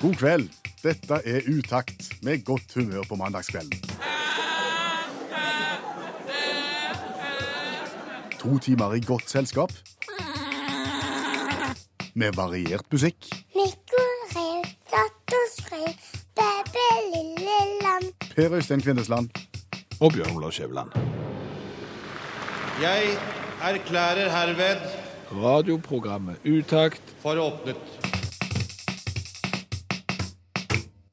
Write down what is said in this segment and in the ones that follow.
God kveld. Dette er Utakt, med godt humør på mandagskvelden. To timer i godt selskap. Med variert musikk, Mikko rev, datter skrev, baby lille lam. Per Øystein Kvindesland Og Bjørn Olav Skjæveland. Jeg erklærer herved Radioprogrammet Utakt for åpnet.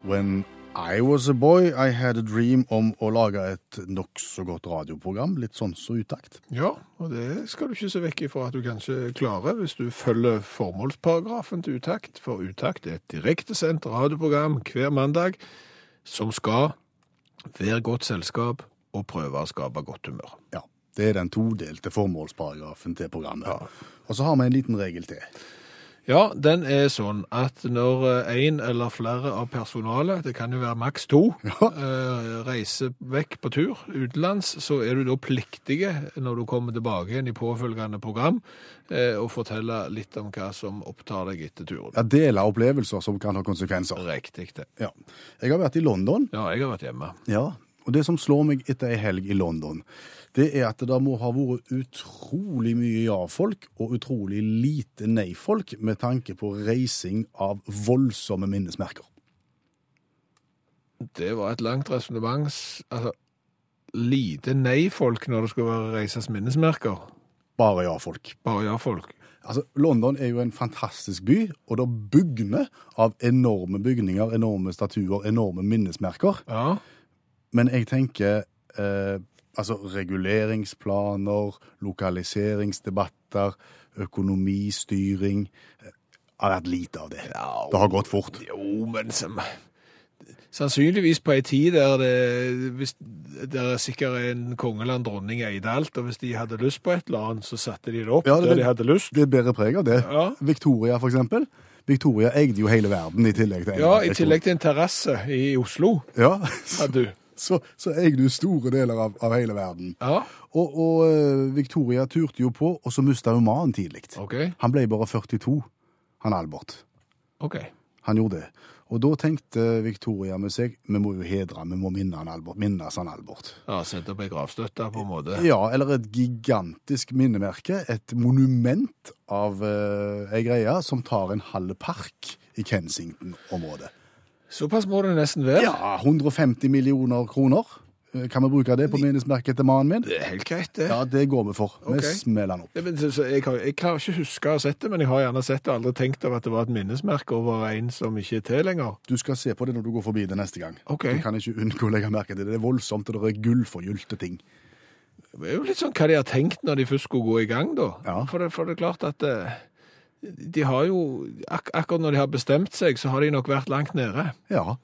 When I was a boy, I had a dream om å lage et nokså godt radioprogram. Litt sånn så utakt. Ja, og det skal du ikke se vekk ifra at du kanskje klarer hvis du følger formålsparagrafen til Utakt, for Utakt er et direktesendt radioprogram hver mandag som skal være godt selskap og prøve å skape godt humør. Ja, Det er den todelte formålsparagrafen til programmet. Og så har vi en liten regel til. Ja, den er sånn at når eh, en eller flere av personalet, det kan jo være maks to, eh, reiser vekk på tur utenlands, så er du da pliktige når du kommer tilbake igjen i påfølgende program, eh, å fortelle litt om hva som opptar deg etter turen. Ja, Dele opplevelser som kan ha konsekvenser. Riktig det. Ja. Jeg har vært i London. Ja, jeg har vært hjemme. Ja, og det som slår meg etter ei helg i London, det er at det må ha vært utrolig mye ja-folk og utrolig lite nei-folk med tanke på reising av voldsomme minnesmerker. Det var et langt resonnement. s- Altså, lite nei-folk når det skal være reises minnesmerker. Bare ja-folk. Bare ja-folk. Altså, London er jo en fantastisk by, og det bugner av enorme bygninger, enorme statuer, enorme minnesmerker. Ja, Men jeg tenker eh, altså reguleringsplaner, lokaliseringsdebatter, økonomistyring eh, har vært lite av det. Ja. Det har gått fort. Jo, men som... Sannsynligvis på ei tid der det, hvis, der er sikkert en konge eller en dronning eide alt, og hvis de hadde lyst på et eller annet, så satte de det opp Ja, det der vil- de hadde lyst. Det bærer preg av det. Ja. Victoria, for eksempel. Victoria eide jo hele verden i tillegg til Ja, i tillegg til en terrasse i Oslo Ja, så, hadde du. så, så eide du store deler av, av hele verden. Ja, Og, og eh, Victoria turte jo på, og så mista hun mannen tidlig. ok, Han ble bare 42, han Albert. ok. Han gjorde det. Og da tenkte Victoria med seg vi må jo hedre han, vi må minne han Albert, minnes han Albert. Ja, sette opp ei gravstøtte på en måte. Ja, eller et gigantisk minnemerke, et monument av uh, ei greie som tar en halv park i Kensington-området. Såpass må det nesten være. Ja, 150 millioner kroner. Eh, Kan vi bruke det på minnesmerket til mannen min? Det er helt greit, det. Ja, det går vi for. Vi Ok. smeller den opp. Ja, men så- så Jeg, har, jeg klarer ikke å huske å ha sett det, men jeg har gjerne sett det og aldri tenkt over at det var et minnesmerke over en som ikke er til lenger. Du skal se på det når du går forbi det neste gang. Ok. Du kan ikke unngå å legge merke til det. Det er voldsomt, og det er gullforgylte ting. Det er jo litt sånn hva de har tenkt når de først skulle gå i gang, da. Ja. For, det, for det er klart at eh, de har jo ak Akkurat når de har bestemt seg, så har de nok vært langt nede. Ja,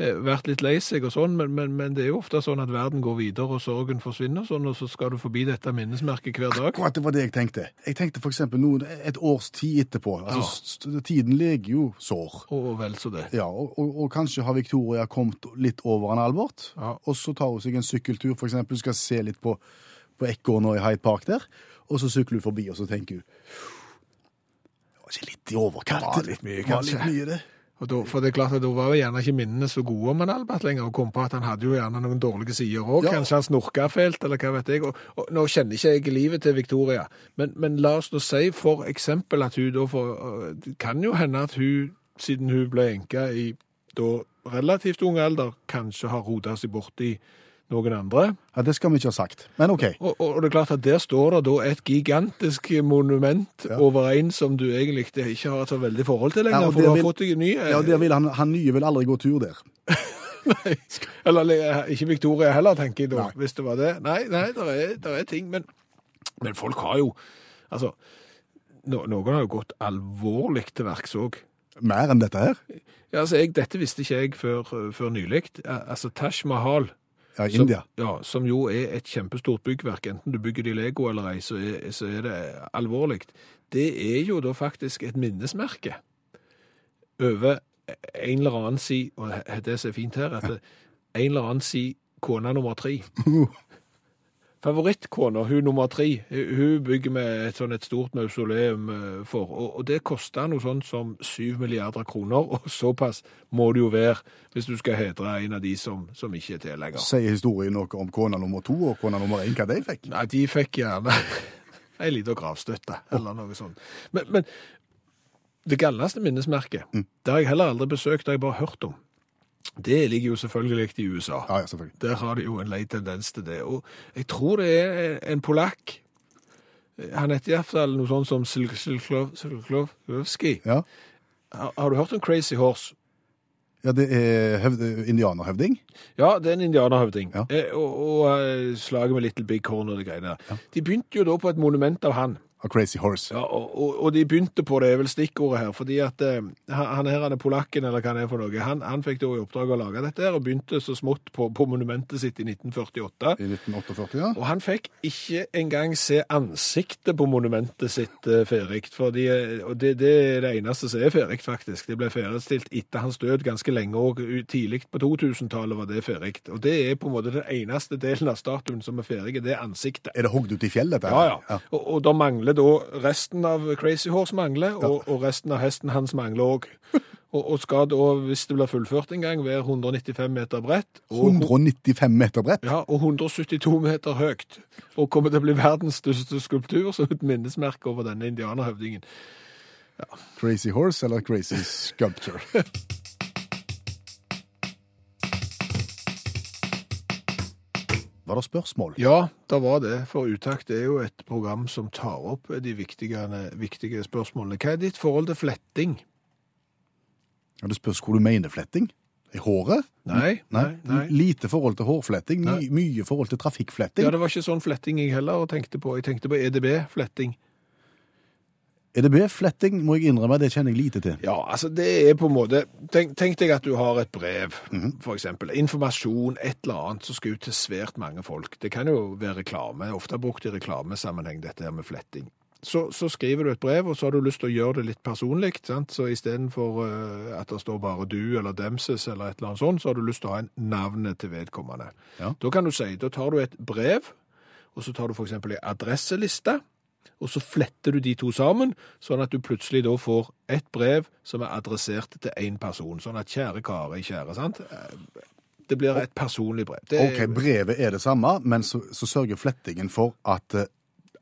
Eh, Vært litt lei seg og sånn, men, men, men det er jo ofte sånn at verden går videre, og sorgen forsvinner, og sånn, og så skal du forbi dette minnesmerket hver dag. akkurat det var det jeg tenkte. Jeg tenkte for eksempel noe, et års tid etterpå. Altså, st- Tiden leger jo sår. Og vel så det. Ja, og, og, og kanskje har Victoria kommet litt over han Albert, Ja. og så tar hun seg en sykkeltur, for eksempel, skal se litt på, på ekorn og i Hyde Park der, og så sykler hun forbi, og så tenker hun, det var ikke litt i overkant. Var litt mye, Det var kanskje. Litt mye det. Og da, for det er klart at da var jo gjerne ikke minnene så gode om han Albert lenger, og kom på at han hadde jo gjerne noen dårlige sider òg. Ja. Kanskje han snorka fælt, eller hva vet jeg. Og, og Nå kjenner ikke jeg livet til Victoria, men, men la oss nå si for eksempel at hun da får øh, Det kan jo hende at hun, siden hun ble enke i da relativt ung alder, kanskje har rota seg borti noen andre. Ja, det skal vi ikke ha sagt. Men ok, Og, og og det er klart at der står det da et gigantisk monument over en som du egentlig ikke har et så veldig forhold til Ja, lenger, og for det du har vil- fått deg en ny. eh, ja, der vil han, han nye vil aldri gå tur der. Nei. Eller le- ikke Victoria heller, tenker jeg da, hvis det var det. Nei, nei, der er, der er ting, men, men folk har jo Altså, no, noen har jo gått alvorlig til verks òg. Mer enn dette her, Ja, altså, jeg- dette visste ikke jeg før, før nylig. Eh, Altså, Taj Mahal ja, i som, India. Ja, som jo er et kjempestort byggverk. Enten du bygger det i Lego eller ei, så er, så er det alvorlig. Det er jo da faktisk et minnesmerke over en eller annen si Og det er så fint her at det- en eller annen si kone nummer tre. Favorittkona, hun nummer tre, hun bygger med et sånn et stort mausoleum eh, for, og, og det koster noe sånt som syv milliarder kroner, og såpass må det jo være hvis du skal hedre en av de som, som ikke er til lenger. Sier historien noe om kona nummer to og kona nummer én, hva de fikk? Nei, de fikk gjerne en liten gravstøtte, eller noe sånt. Men, men det galleste minnesmerket, Mm. det har jeg heller aldri besøkt, det har jeg bare hørt om. Det ligger jo selvfølgelig i USA. Ja, ja, selvfølgelig. Der har de jo en lei tendens til det. Og jeg tror det er en polakk. Han heter iallfall noe sånt som Silklovskij. Ja, Har har du hørt om Crazy Horse? ja det er hevd- indianerhevding. Ja, det er en indianerhøvding. Ja. Eh, Og, og eh, slaget med Little Big Horn og det greiene der. De begynte jo da på et monument av han. A crazy horse. Ja, og, og, og de begynte på det, er vel stikkordet her, fordi at eh, han han her, han er polakken, eller hva det er for noe, han, han fikk da i oppdrag å lage dette her, og begynte så smått på, på monumentet sitt i 1948. I 1948, ja. Og han fikk ikke engang se ansiktet på monumentet sitt eh, ferdig. Fordi, eh, og det, det er det eneste som er ferdig, faktisk. Det ble ferdigstilt etter hans død ganske lenge, og u- tidlig på 2000-tallet var det ferdig. Og det er på en måte den eneste delen av statuen som er ferdig, det er ansiktet. Er det hogd ut i fjell, dette? her? Ja, ja. Og, og da mangler da resten av Crazy Horse mangler, og, og resten av hesten hans mangler òg. Og, og skal da, hvis det blir fullført en gang, være 195 meter bredt. Og, 195 meter bredt? ja, og 172 meter høyt, og kommer til å bli verdens største skulptur som et minnesmerke over denne indianerhøvdingen. Crazy horse eller crazy sculpture? Var det spørsmål? Ja, det var det, for Utakt er jo et program som tar opp de viktige, viktige spørsmålene. Hva er ditt forhold til fletting? Ja, det spørs hvor du mener fletting. I håret? Nei, nei, nei. Lite forhold til hårfletting, my mye forhold til trafikkfletting. Ja, det var ikke sånn fletting jeg heller tenkte på. Jeg tenkte på E EDB-fletting. EDB-fletting må jeg innrømme, det kjenner jeg lite til. Ja, altså det er på en måte Tenk, tenk deg at du har et brev, for eksempel. Informasjon, et eller annet som skal ut til svært mange folk. Det kan jo være reklame. Ofte brukt i reklamesammenheng, dette her med fletting. Så, så skriver du et brev, og så har du lyst til å gjøre det litt personlig. Sant? Så istedenfor uh, at det står bare du eller demses eller et eller annet sånt, så har du lyst til å ha en navnet til vedkommende. Ja. Da kan du si Da tar du et brev, og så tar du f.eks. ei adresseliste og så fletter du de to sammen, sånn at du plutselig da får ett brev som er adressert til én person. Sånn at kjære Kari, kjære, sant? Eh, Det blir et personlig brev. Det er- Ok, brevet er det samme, men så, så sørger flettingen for at eh,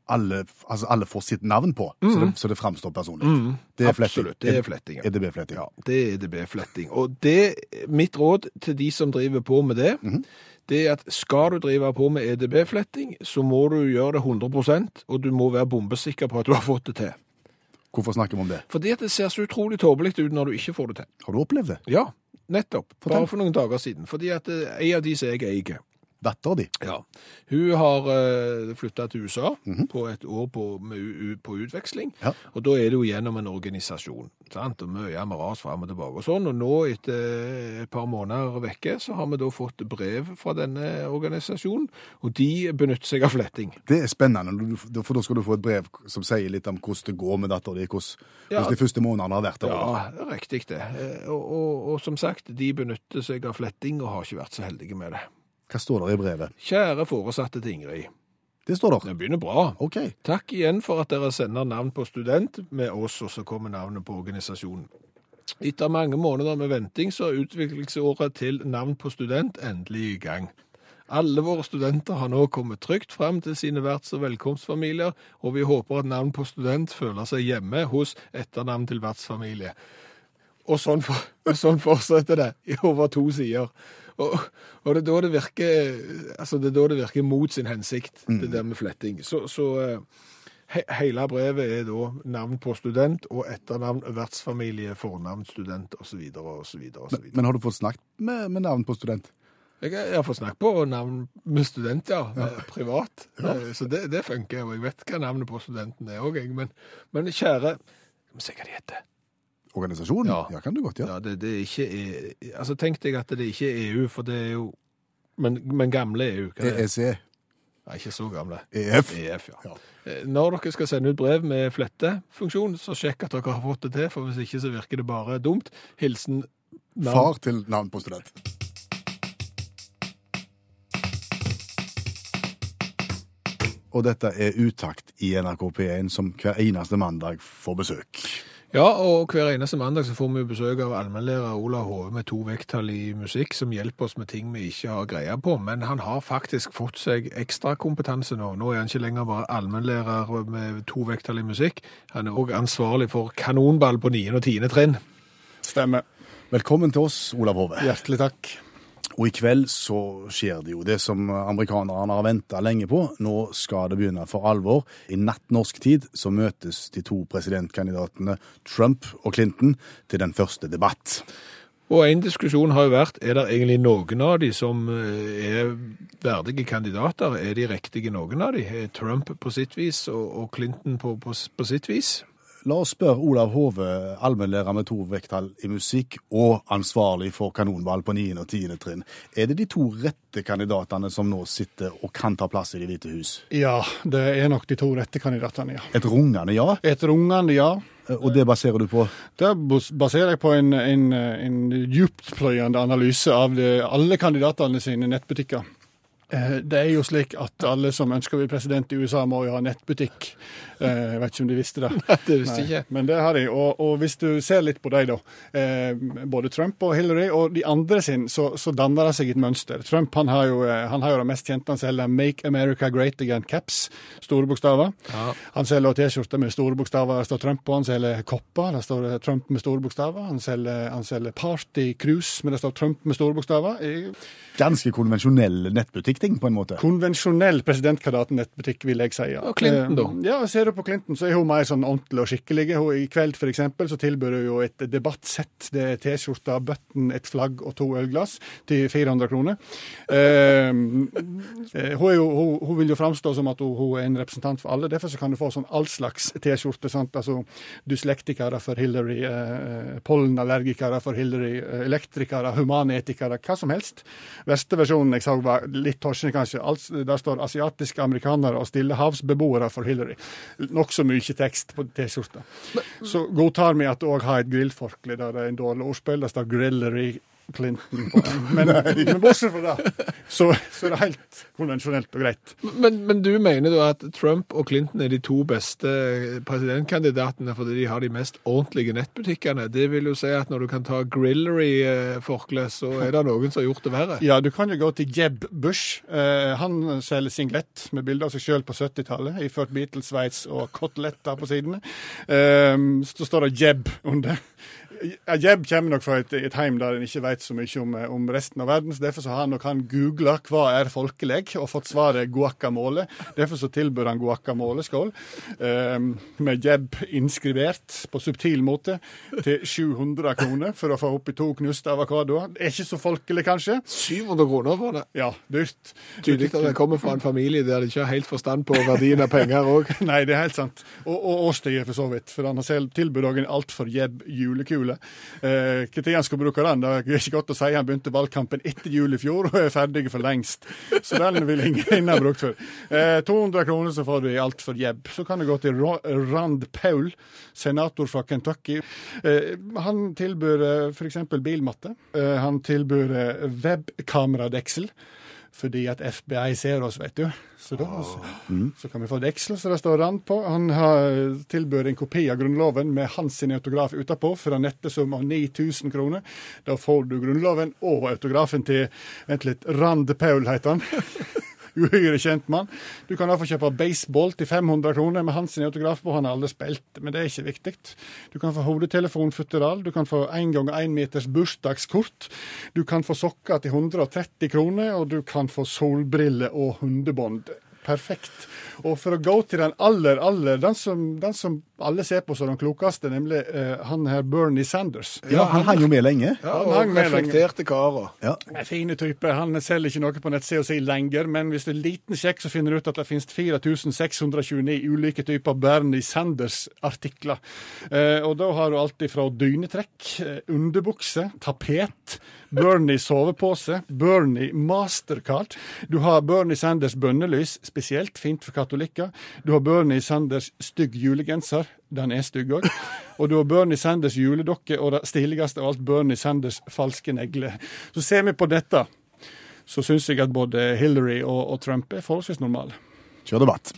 alle, altså alle får sitt navn på, så, det, så det framstår personlig. Det er fletting. Mm. Absolutt, det er fletting. ja. EDB-fletting. Ja, det er DB-fletting. Og det, mitt råd til de som driver på med det, det er at skal du drive på med E EDB-fletting, så må du gjøre det 100 og du må være bombesikker på at du har fått det til. Hvorfor snakker vi om det? Fordi at det ser så utrolig tåpelig ut når du ikke får det til. Har du opplevd det? Ja, nettopp. Fortell. Bare for noen dager siden. Fordi at eh, en av de som jeg eier, Datter di? ja. hun har uh, flytta til USA på et år på, med, u, u- på utveksling. Ja. Og da er det jo gjennom en organisasjon. Sant? Og mye maras fram og tilbake og sånn. Og nå, etter eh, et par måneder vekke, så har vi da fått brev fra denne organisasjonen, og de benytter seg av fletting. Det er spennende, når du- for da skal du få et brev som sier litt om hvordan det går med datter di, hvordan, Ja. hvordan de første månedene har vært der. Ja, riktig det. Eh, Og, og, og som sagt, de benytter seg av fletting og har ikke vært så heldige med det. Hva står der i brevet? Kjære foresatte til Ingrid. Det står der. Det begynner bra. Ok. Takk igjen for at dere sender navn på student med oss, og så kommer navnet på organisasjonen. Etter mange måneder med venting, så er utviklingsåret til navn på student endelig i gang. Alle våre studenter har nå kommet trygt frem til sine verts- og velkomstfamilier, og vi håper at navn på student føler seg hjemme hos etternavn til vertsfamilie. Og sånn, for, og sånn fortsetter det i over to sider. Og, og det, er da det, virker, altså det er da det virker mot sin hensikt, det der med fletting. Så, så eh, he, hele brevet er da navn på student og etternavn, vertsfamilie, fornavn, student osv. osv. Men, men har du fått snakket med, med navn på student? Jeg jeg har fått snakk på navn med student, ja. eh, Privat. Eh, Så det, det funker, og jeg vet hva navnet på studenten er òg, jeg. Men, men kjære Skal vi se hva de heter. Organisasjonen? Ja. kan du godt gjøre. Ja, det, det er ikke E- Altså, tenk deg at det ikke er EU, for det er jo Men, men gamle E EU. Hva er det? EEC, Nei, ikke så gamle. EF. EF, E ja. Ja. Eh, Når dere skal sende ut brev med flettefunksjon, så sjekk at dere har fått det til, for hvis ikke så virker det bare dumt. Hilsen navn- Far til navn på student. og dette er Utakt i NRK P1, som hver eneste mandag får besøk. Ja, og hver eneste mandag så får vi jo besøk av allmennlærer Olav Hove med to vekttall i musikk, som hjelper oss med ting vi ikke har greie på. Men han har faktisk fått seg ekstrakompetanse nå. Nå er han ikke lenger bare allmennlærer med to vekttall i musikk. Han er òg ansvarlig for kanonball på 9. og 10. trinn. Stemmer. Velkommen til oss, Olav Hove. Hjertelig takk. Og i kveld så skjer det jo det som amerikanerne har venta lenge på. Nå skal det begynne for alvor. I natt norsk tid så møtes de to presidentkandidatene Trump og Clinton til den første debatt. Og en diskusjon har jo vært, er det egentlig noen av de som eh, er verdige kandidater? Er de riktige noen av de? Er Trump på sitt vis og, og Clinton på, på, på sitt vis? La oss spørre Olav Hove, allmennlærer med to vekttall i musikk og ansvarlig for kanonball på 9. og 10. trinn. Er det de to rette kandidatene som nå sitter og kan ta plass i Det hvite hus? Ja, det er nok de to rette kandidatene, ja. Et rungende ja, Etter ungene, ja. og det baserer du på Det bas- baserer jeg på en, en, en djuptpløyende analyse av de, alle kandidatene sine nettbutikker. Eh, Det er jo slik at alle som ønsker å bli president i USA, må jo ha nettbutikk. Eh, Jeg vet ikke om de visste det. Det visste jeg ikke. Men det har de. Og, og hvis du ser litt på dem, da. Eh, både Trump og Hillary og de andre sin, så, så danner det seg et mønster. Trump han har jo, eh, han har jo det mest kjente han selger, Make America Great Again Caps, store bokstaver. Han selger også T-skjorter med store bokstaver, det står Trump på. Han selger kopper, det står Trump med store bokstaver. Han selger, han selger Party Cruise, men det står Trump med store bokstaver. I ganske konvensjonelle nettbutikkting, på en måte. konvensjonell presidentkandidaten-nettbutikk, vil jeg si. Ja. Og Clinton, da? Eh, Ja, ser du på Clinton, så er hun mer sånn ordentlig og skikkelig. Hun, I kveld, for eksempel, så tilbyr hun jo et debattsett. Det er T-skjorte, button, et flagg og to ølglass til 400 kroner. Eh, eh, hun, er jo, hun, hun vil jo framstå som at hun, hun er en representant for alle. Derfor så kan du få sånn all slags T-skjorte. sant? Altså dyslektikere for Hillary, eh, pollenallergikere for Hillary, eh, elektrikere, humanetikere, hva som helst. Verste versjonen jeg så var litt torsende, kanskje. Alt, der står asiatiske amerikanere og stillehavsbeboere for Hillary. Nokså mye tekst på T-skjorta. Så godtar vi at det òg har et grillforkle der det er en dårlig ordspill. Det står 'grillery'. Clinton på. Men, men bortsett fra det, så, så er det helt konvensjonelt og greit. Men, men du mener da at Trump og Clinton er de to beste presidentkandidatene fordi de har de mest ordentlige nettbutikkene. Det vil jo si at når du kan ta grillery-forkle, så er det noen som har gjort det verre. Ja, du kan jo gå til Jeb Bush. Eh, han selger singlet med bilder av seg sjøl på 70-tallet, iført Beatles-sveis og koteletter på sidene. Eh, så står det Jeb under. Ja, Jeb kommer nok fra et, et heim der en ikke vet så mye om, eh, om resten av verden. så Derfor så har han nok han googla 'hva er folkeleg?' og fått svaret 'guacamole'. Derfor så tilbød han guacamoleskål eh, med Jeb inskrivert på subtil måte til 700 kroner for å få oppi to knuste avokadoer. Det er ikke så folkelig, kanskje. 700 kroner for det. Ja, dyrt. Tydelig at det kommer fra en familie der de ikke har helt forstand på verdien av penger òg. Nei, det er helt sant. Og, og årstiden, for så vidt. For han har selv tilbudt òg en altfor gjebb julekule. Eh, Når han skal bruke den, det er ikke godt å si. Han begynte valgkampen etter jul i fjor og er ferdig for lengst. Så den vil ingen ha brukt for. Eh, 200 kroner så får du i altfor gjebb. Så kan du gå til Ro- Rand Paul, senator fra Kentucky. Eh, han tilbyr eh, for eksempel bilmatte. Eh, han tilbyr eh, webkameradeksel fordi at FBI ser oss, vet du. Så da så, så kan vi få deksel, så det står Rand på. Han har tilbød en kopi av Grunnloven med hans sin autograf utapå for en nettesum av 9000 kroner. Da får du Grunnloven og autografen til Vent litt, Rand Paul heter han. Uhyre kjent mann. Du kan iallfall kjøpe baseball til 500 kroner med hans sin autograf på. Han har aldri spilt, men det er ikke viktig. Du kan få hodetelefon futteral, du kan få én gang én meters bursdagskort. Du kan få sokker til 130 kroner, og du kan få solbriller og hundebånd. Perfekt. Og for å gå til den aller, aller Den som, den som alle ser på som den klokeste, nemlig eh, han her Bernie Sanders. Ja, han hang jo med lenge. Ja, Han hang og med lenge. reflekterte karer. Ja. En fine type. Han selger ikke noe på nettsida si lenger, men hvis det er en liten sjekk, så finner du ut at det finnes 4629 ulike typer Bernie Sanders-artikler. Eh, og da har du alt ifra dynetrekk, eh, underbukse, tapet, Bernie sovepose, Bernie mastercard. Du har Bernie Sanders bønnelys, spesielt fint for katolikker. Du har Bernie Sanders stygg julegenser. Den er stygg òg. Og du har Bernie Sanders juledokke, og det stiligste av alt Bernie Sanders falske negler. Så ser vi på dette, så syns jeg at både Hillary og, og Trump er forholdsvis normale. Kjør debatt.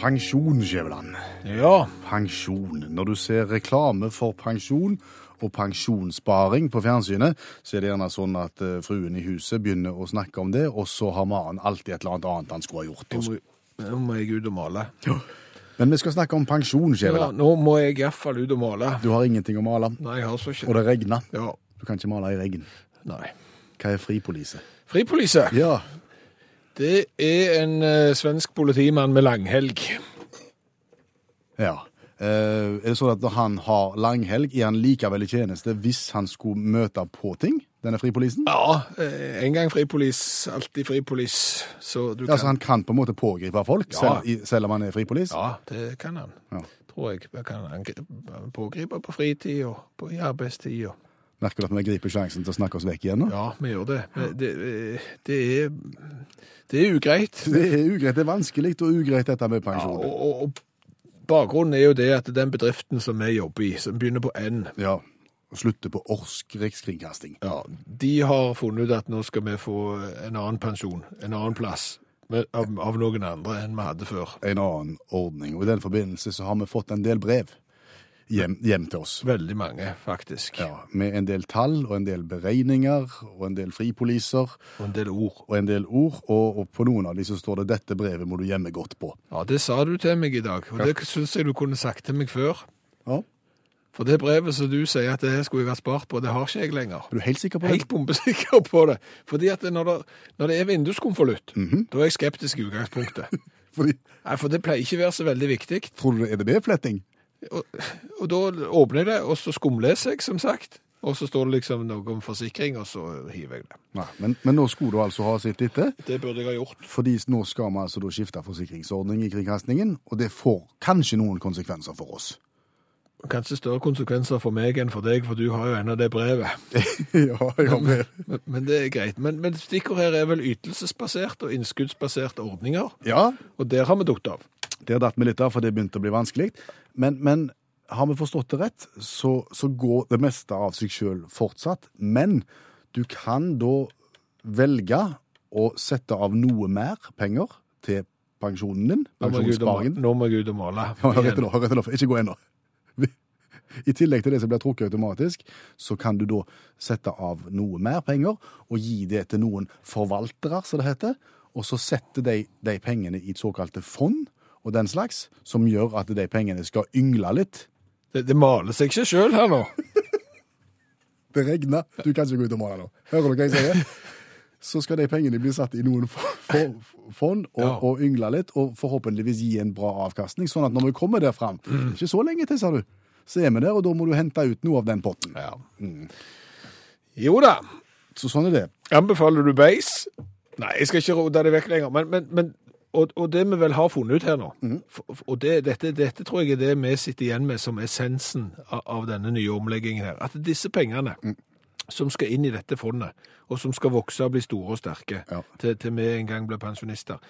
Pensjon, Skjæveland. Ja. Pensjon. Når du ser reklame for pensjon og pensjonssparing på fjernsynet, så er det gjerne sånn at eh, fruen i huset begynner å snakke om det, og så har mannen alltid et eller annet annet han skulle ha gjort. Nå må- Nå må jeg ut og male. Men vi skal snakke om pensjon, Ja, Skjæveland. nå må jeg iallfall ut og male. Du har ingenting å male, Nei, jeg har så og ikke det regner. Ja, Du kan ikke male i regn. nei. Hva er fripolise? Fripolise. Ja, Det er en eh, svensk politimann med langhelg. Ja. Eh, er det sånn at når han har langhelg, er han likevel i tjeneste hvis han skulle møte på ting? Denne fripolisen? Ja, eh, en gang fripolis, alltid fripolis. Så du Altså kan Han kan på en måte pågripe folk, Ja. selv, i, selv om han er fripolis? Ja, det kan han. Ja. Tror jeg. Jeg Kan angripe, pågripe på fritid og på, i arbeidstid. Og. Merker du at vi griper sjansen til å snakke oss vekk igjen nå? Ja, vi gjør det. Men Det, eh, det er Det er ugreit. Det er ugreit. Det er vanskelig og ugreit, dette med Ja, pensjon. og, og, og bakgrunnen er jo det at den bedriften som vi jobber i, som begynner på N, Ja. Og slutte på Orsk Rikskringkasting. Ja, de har funnet ut at nå skal vi få en annen pensjon, en annen plass, med, av, av noen andre enn vi hadde før. En annen ordning. Og i den forbindelse så har vi fått en del brev hjem, hjem til oss. Veldig mange, faktisk. Ja, Med en del tall og en del beregninger og en del fripoliser. Og en del ord. og en del ord, og, og på noen av de så står det 'dette brevet må du gjemme godt på'. Ja, det sa du til meg i dag, og det synes jeg du kunne sagt til meg før. Ja. For det brevet som du sier at det her skulle jeg vært spart på, det har ikke jeg lenger. Er du helt sikker på det? Helt bombesikker på det. Fordi at når det, når det er vinduskonvolutt, da er jeg skeptisk i utgangspunktet. Fordi, Nei, for det pleier ikke å være så veldig viktig. tror du det er EDB-fletting? Og, og da åpner jeg det, og så skumleser jeg, som sagt. Og så står det liksom noe om forsikring, og så hiver jeg det. Nei, men, men nå skulle du altså ha sett dette, Det burde jeg ha gjort. fordi nå skal vi altså da skifte forsikringsordning i kringkastingen, og det får kanskje noen konsekvenser for oss. Kanskje større konsekvenser for meg enn for deg, for du har jo ennå det brevet. ja, ja, men, Men, men det er greit. Men, men stikkord her er vel ytelsesbasert og innskuddsbaserte ordninger. ja, Og der har vi dukt av. det har datt meg litt av, for det begynte å bli vanskelig. Men, men har vi forstått det rett, så, så går det meste av seg sjøl fortsatt. Men du kan da velge å sette av noe mer penger til pensjonen din. Nå må jeg ut og ma- Pensjonssparingen. nå må jeg ut og male. Ja, Hør igjen. etter nå, hør etter nå, ikke gå ennå. I tillegg til det som blir trukket automatisk, så kan du da sette av noe mer penger og gi det til noen forvaltere, som det heter. Og så setter de de pengene i et såkalte fond og den slags, som gjør at de pengene skal yngle litt. Det, det maler seg ikke sjøl her nå. Det regner. Du kan ikke gå ut og male nå. Hører du hva jeg sier? Så skal de pengene bli satt i noen for, for, fond og, Ja. og yngle litt, og forhåpentligvis gi en bra avkastning. Sånn at når vi kommer der fram, Mm. ikke så lenge til, sa du, så er vi der, og da må du hente ut noe av den potten. Ja. Mm. Jo da. Så sånn er det. Anbefaler du beis? Nei, jeg skal ikke rote det vekk lenger. Men, men, men og, og det vi vel har funnet ut her nå, f- f- og det, dette, dette tror jeg er det vi sitter igjen med som essensen av, av denne nye omleggingen her, at disse pengene som skal inn i dette fondet, og som skal vokse og bli store og sterke Ja. til, til vi en gang blir pensjonister,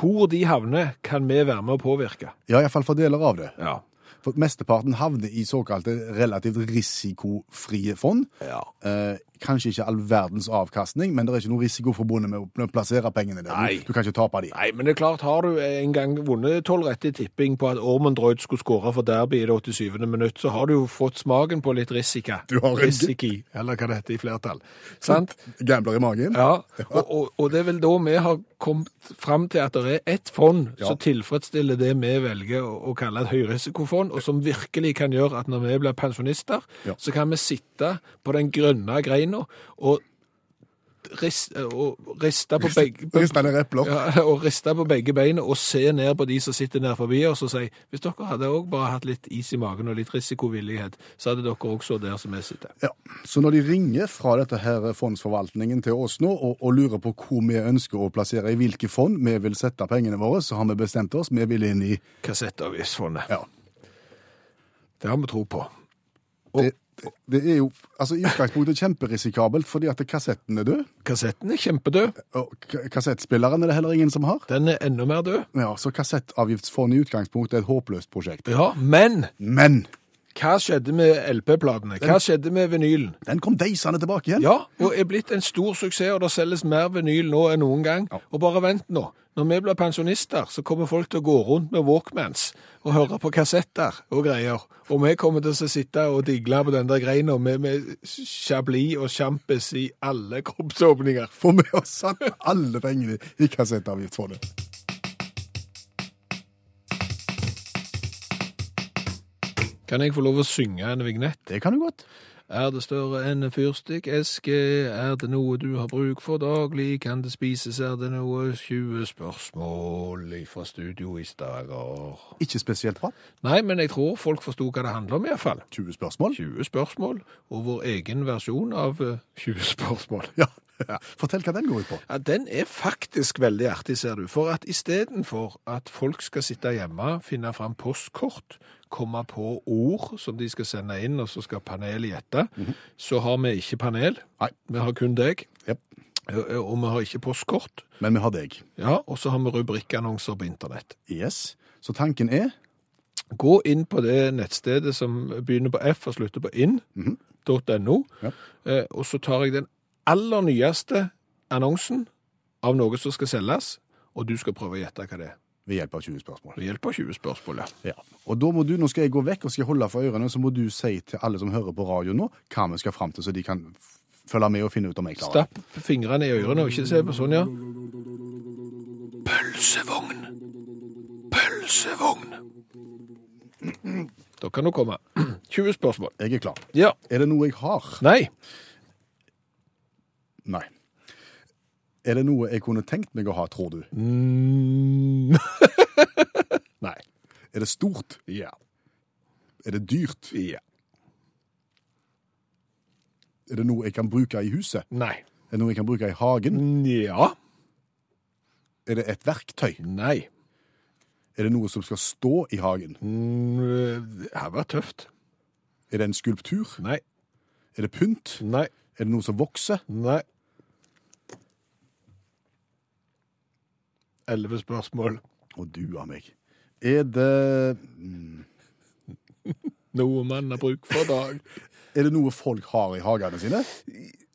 hvor de havner kan vi være med å påvirke. Ja, iallfall for deler av det. Ja. For mesteparten havner i såkalte relativt risikofrie fond. Eh, kanskje ikke all verdens avkastning, men det er ikke noe risiko forbundet med å pl- plassere pengene der. Nei. Du, du kan ikke tape de. Nei, men det er klart, har du en gang vunnet 12 rett i tipping på at Ormond Drøyd skulle skåre for derby i det 87. minutt, så har du jo fått smaken på litt risika. Du har en- Risiki, eller hva det heter i flertall. Sant? Gambler i magen. Ja, og, og, og det er vel da vi har kommet fram til at det er ett fond som tilfredsstiller det vi velger å, å kalle et høyrisikofond, og som virkelig kan gjøre at når vi blir pensjonister, Ja. så kan vi sitte på den grønne greina og, ris, og riste på begge Ristende repler. ja, og riste på begge beina og se ned på de som sitter ned forbi oss og si hvis dere hadde også bare hatt litt is i magen og litt risikovillighet, så hadde dere også der som jeg sitter. Ja, Så når de ringer fra dette her fondsforvaltningen til oss nå og, og lurer på hvor vi ønsker å plassere i hvilke fond vi vil sette pengene våre, så har vi bestemt oss. Vi vil inn i Kassettavgiftsfondet. Ja. Det har vi tro på. Det, det- det er jo altså i utgangspunktet kjemperisikabelt fordi at kassetten er død. Kassetten er kjempedød. Og k- kassettspilleren er det heller ingen som har. Den er enda mer død. Ja, Så kassettavgiftsfondet i utgangspunktet er et håpløst prosjekt. Ja, men Men Hva skjedde med LP-platene? Hva skjedde med vinylen? Den kom deisende tilbake igjen. Ja, og er blitt en stor suksess, og det selges mer vinyl nå enn noen gang. Og bare vent nå. Når vi blir pensjonister, så kommer folk til å gå rundt med Walkmans og høre på kassetter og greier. Og vi kommer til å sitte og digle på den der greina med, med chablis og sjampis i alle kroppsåpninger. For vi har satt alle pengene i kassettavgift for det. Kan jeg få lov å synge en vignett? Det kan du godt. Er det større enn en fyrstikkeske? Er det noe du har bruk for daglig? Kan det spises? Er det noe? 20 spørsmål fra studio i Stavanger. Ikke spesielt bra. Nei, men jeg tror folk forsto hva det handler om iallfall. 20 spørsmål. 20 spørsmål, og vår egen versjon av eh, 20 spørsmål. Ja. Fortell hva den går ut på. Ja, den er faktisk veldig artig, ser du. For at istedenfor at folk skal sitte hjemme, finne fram postkort, komme på ord som de skal sende inn, og så skal panelet gjette, så har vi ikke panel. Nei. Vi har kun deg, Jep. og- og vi har ikke postkort. Men vi har deg. Ja, og så har vi rubrikkannonser på internett. Yes. Så tanken er Gå inn på det nettstedet som begynner på F og slutter på inn.no, Ja. eh, og så tar jeg den aller nyeste annonsen av noe som skal selges, og du skal prøve å gjette hva det er. ved hjelp av 20 spørsmål. Det hjelper 20 spørsmål, ja. Ja. Og da må du, Nå skal jeg gå vekk og skal holde for ørene, så må du si til alle som hører på radio nå, hva vi skal fram til, så de kan f- følge med og finne ut om jeg klarer det. Stapp fingrene i ørene og ikke se på sånn, ja. Pølsevogn. Pølsevogn. Da kan du komme. 20 spørsmål. Jeg er klar. Ja. Er det noe jeg har? Nei. Nei. Er det noe jeg kunne tenkt meg å ha, tror du? Nei. Er det stort? Ja. Er det dyrt? Ja. Er det noe jeg kan bruke i huset? Nei. Er det noe jeg kan bruke i hagen? Ja. Er det et verktøy? Nei. Er det noe som skal stå i hagen? Mm, Det her var tøft. Er det en skulptur? Nei. Er det pynt? Nei. Er det noe som vokser? Nei. Elleve spørsmål. Å, du av meg. Er det, Noe man har bruk for dag. er det noe folk har i hagene sine?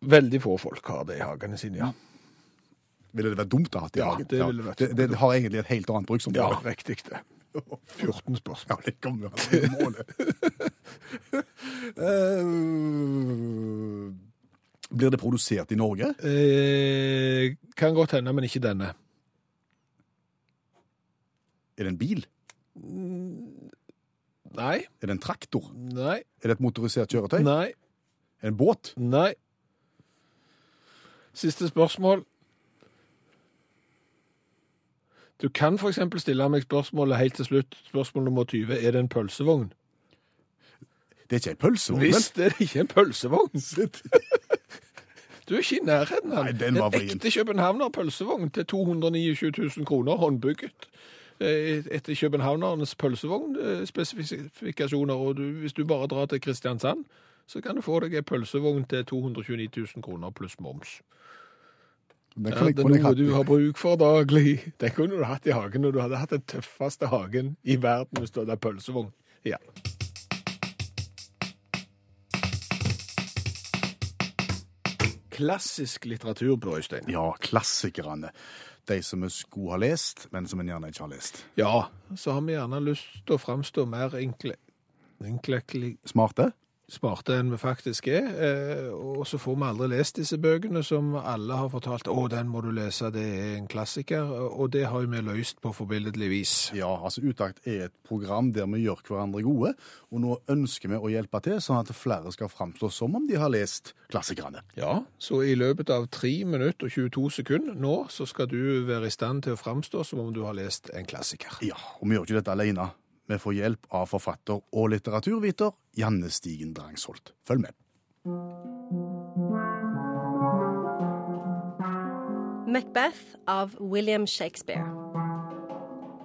Veldig få folk har det i hagene sine, ja. Ville det vært dumt å ha det i Ja, hagen? det ville vært det, det, har egentlig et helt annet Ja, bruksområde. riktig det. 14 spørsmål. Ja, det kommer jo an på målet. Eh, Blir det produsert i Norge? Eh, kan godt hende, men ikke denne. Er det en bil? Nei, Er det en traktor? nei, Er det et motorisert kjøretøy? nei, Er det en båt? nei. Siste spørsmål. Du kan for eksempel stille meg spørsmålet helt til slutt. Spørsmål nummer 20. Er det en pølsevogn? Det er ikke ei pølsevogn? vel? Visst er det ikke en pølsevogn. Du er ikke i nærheten. Han. Nei, den var en vrien. ekte københavnerpølsevogn til 229 000 kroner, håndbygget. eh, Etter københavnernes pølsevognspesifikasjoner. Og du, hvis du bare drar til Kristiansand, så kan du få deg en pølsevogn til 229 000 kroner pluss moms. Den Er kan jeg- det kan jeg ha- noe du har bruk for daglig? Den kunne du hatt i hagen når du hadde hatt den tøffeste hagen i verden hvis du hadde hatt pølsevogn. Ja. Klassisk litteratur, Børre Øystein. Ja, klassikerne. De som vi skulle ha lest, men som en gjerne ikke har lest. Ja, så har vi gjerne lyst til å framstå mer enkle, enkle, Smarte? smarte enn vi faktisk er. eh, Og så får vi aldri lest disse bøkene som alle har fortalt å, den må du lese, det er en klassiker. Og det har jo vi løst på forbilledlig vis. Ja, altså Utakt er et program der vi gjør hverandre gode, og nå ønsker vi å hjelpe til, sånn at flere skal framstå som om de har lest klassikerne. Ja, så i løpet av 3 minutter og 22 sekunder nå, så skal du være i stand til å framstå som om du har lest en klassiker. Ja, og vi gjør ikke dette alene. Vi får hjelp av forfatter og litteraturviter Janne Stigen Drangsholt. Følg med. Macbeth av William Shakespeare.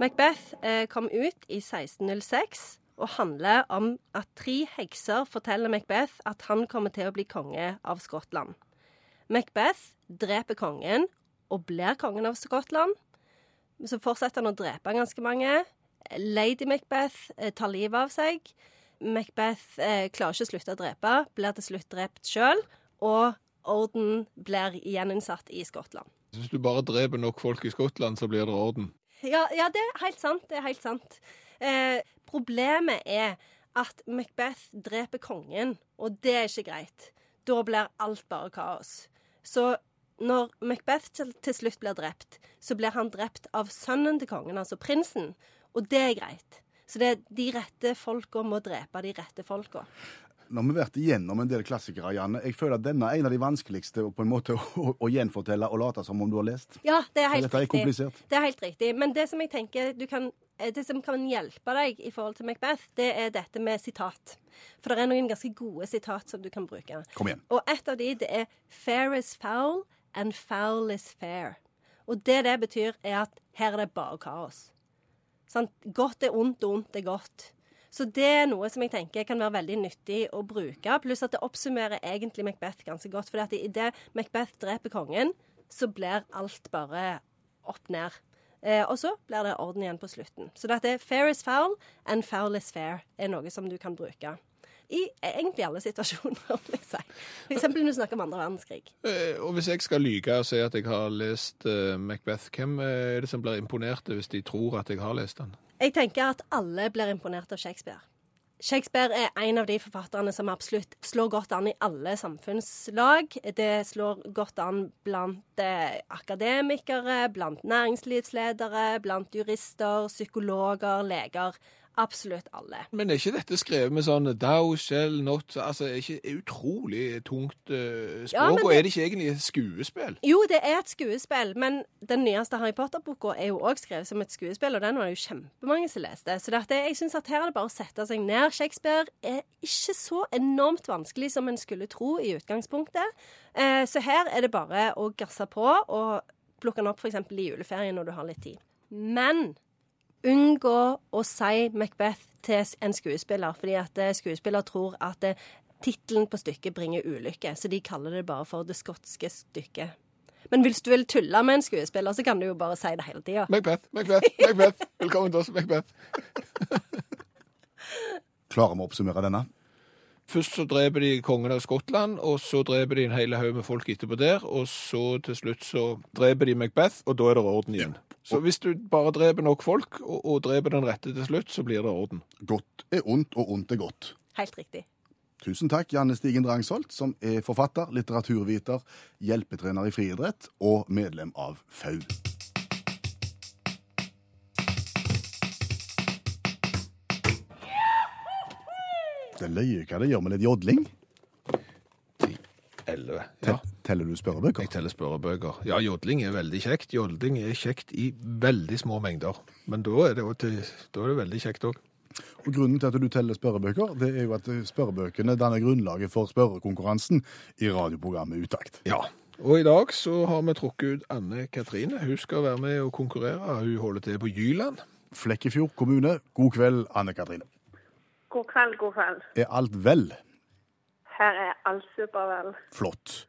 Macbeth eh, kom ut i 1606 og handler om at tre hekser forteller Macbeth at han kommer til å bli konge av Skottland. Macbeth dreper kongen og blir kongen av Skottland. Men Så fortsetter han å drepe ganske mange. Lady Macbeth eh, tar livet av seg. Macbeth eh, klarer ikke å slutte å drepe, blir til slutt drept sjøl, og orden blir gjeninnsatt i Skottland. Hvis du bare dreper nok folk i Skottland, så blir det orden. Ja, ja, det er helt sant. Det er helt sant. Eh, problemet er at Macbeth dreper kongen, og det er ikke greit. Da blir alt bare kaos. Så når Macbeth til, til slutt blir drept, så blir han drept av sønnen til kongen, altså prinsen, og det er greit. Så det er de rette folka må drepe de rette folka. Nå har vi vært igjennom en del klassikere, Janne. Jeg føler at denne er en av de vanskeligste på en måte å, å gjenfortelle og late som om du har lest. Ja, det er helt Dette er riktig. komplisert. Det er helt riktig. Men det som jeg tenker du kan, eh, det som kan hjelpe deg i forhold til Macbeth, det er dette med sitat. For det er noen ganske gode sitat som du kan bruke. Kom igjen. Og et av de det er 'fair is foul and foul is fair'. Og det det betyr, er at her er det bare kaos. Sant? Godt er ondt, og ondt er godt. Så det er noe som jeg tenker kan være veldig nyttig å bruke. Pluss at det oppsummerer egentlig Macbeth ganske godt. For idet Macbeth dreper kongen, så blir alt bare opp ned. Eh, og så blir det orden igjen på slutten. Så dette er 'fair is foul' and 'foul is fair' er noe som du kan bruke. I egentlig alle situasjoner, vil jeg si. For eksempel når du snakker om andre verdenskrig. Eh, Og hvis jeg skal lyge og si at jeg har lest eh, Macbeth, hvem eh, er det som blir imponert hvis de tror at jeg har lest den? Jeg tenker at alle blir imponert av Shakespeare. Shakespeare er en av de forfatterne som absolutt slår godt an i alle samfunnslag. Det slår godt an blant eh, akademikere, blant næringslivsledere, blant jurister, psykologer, leger. Absolutt alle. Men er ikke dette skrevet med sånn 'thou shall not' Altså, er ikke er utrolig tungt eh, språk? Ja, men Og det- er det ikke egentlig skuespill? Jo, det er et skuespill, men den nyeste Harry Potter-boka er jo òg skrevet som et skuespill, og den var det jo kjempemange som leste. Så dette, jeg syns at her er det bare å sette seg ned. Shakespeare er ikke så enormt vanskelig som en skulle tro i utgangspunktet. Eh, så her er det bare å gasse på og plukke den opp f.eks. i juleferien når du har litt tid. Men unngå å si Macbeth til en skuespiller, fordi at eh, skuespiller tror at eh, tittelen på stykket bringer ulykke, så de kaller det bare for det skotske stykket. Men hvis du vil tulle med en skuespiller, så kan du jo bare si det hele tida. Macbeth, Macbeth, Macbeth. Velkommen til oss, Macbeth. Klarer vi å oppsummere denne? Først så dreper de kongen av Skottland, og så dreper de en hel haug med folk etterpå der, og så til slutt så dreper de Macbeth, og da er det orden igjen. Så hvis du bare dreper nok folk, og, og dreper den rette til slutt, så blir det orden. Godt er ondt, og ondt er godt. Helt riktig. Tusen takk, Janne Stigen Drangsholt, som er forfatter, litteraturviter, hjelpetrener i friidrett og medlem av FAU. Det er løye hva det gjør med litt jodling. Elleve. Te- Ja. Teller du spørrebøker? Jeg teller spørrebøker. Ja, jodling er veldig kjekt. Jodling er kjekt i veldig små mengder. Men da er det, jo til, da er det veldig kjekt òg. Og grunnen til at du teller spørrebøker, det er jo at spørrebøkene danner grunnlaget for spørrekonkurransen i radioprogrammet Utakt. Ja. Og i dag så har vi trukket ut Anne Katrine. Hun skal være med og konkurrere. Hun holder til på Jyland. Flekkefjord kommune, god kveld, Anne Katrine. God kveld, god kveld. Er alt vel? Her er alt supervel. Flott.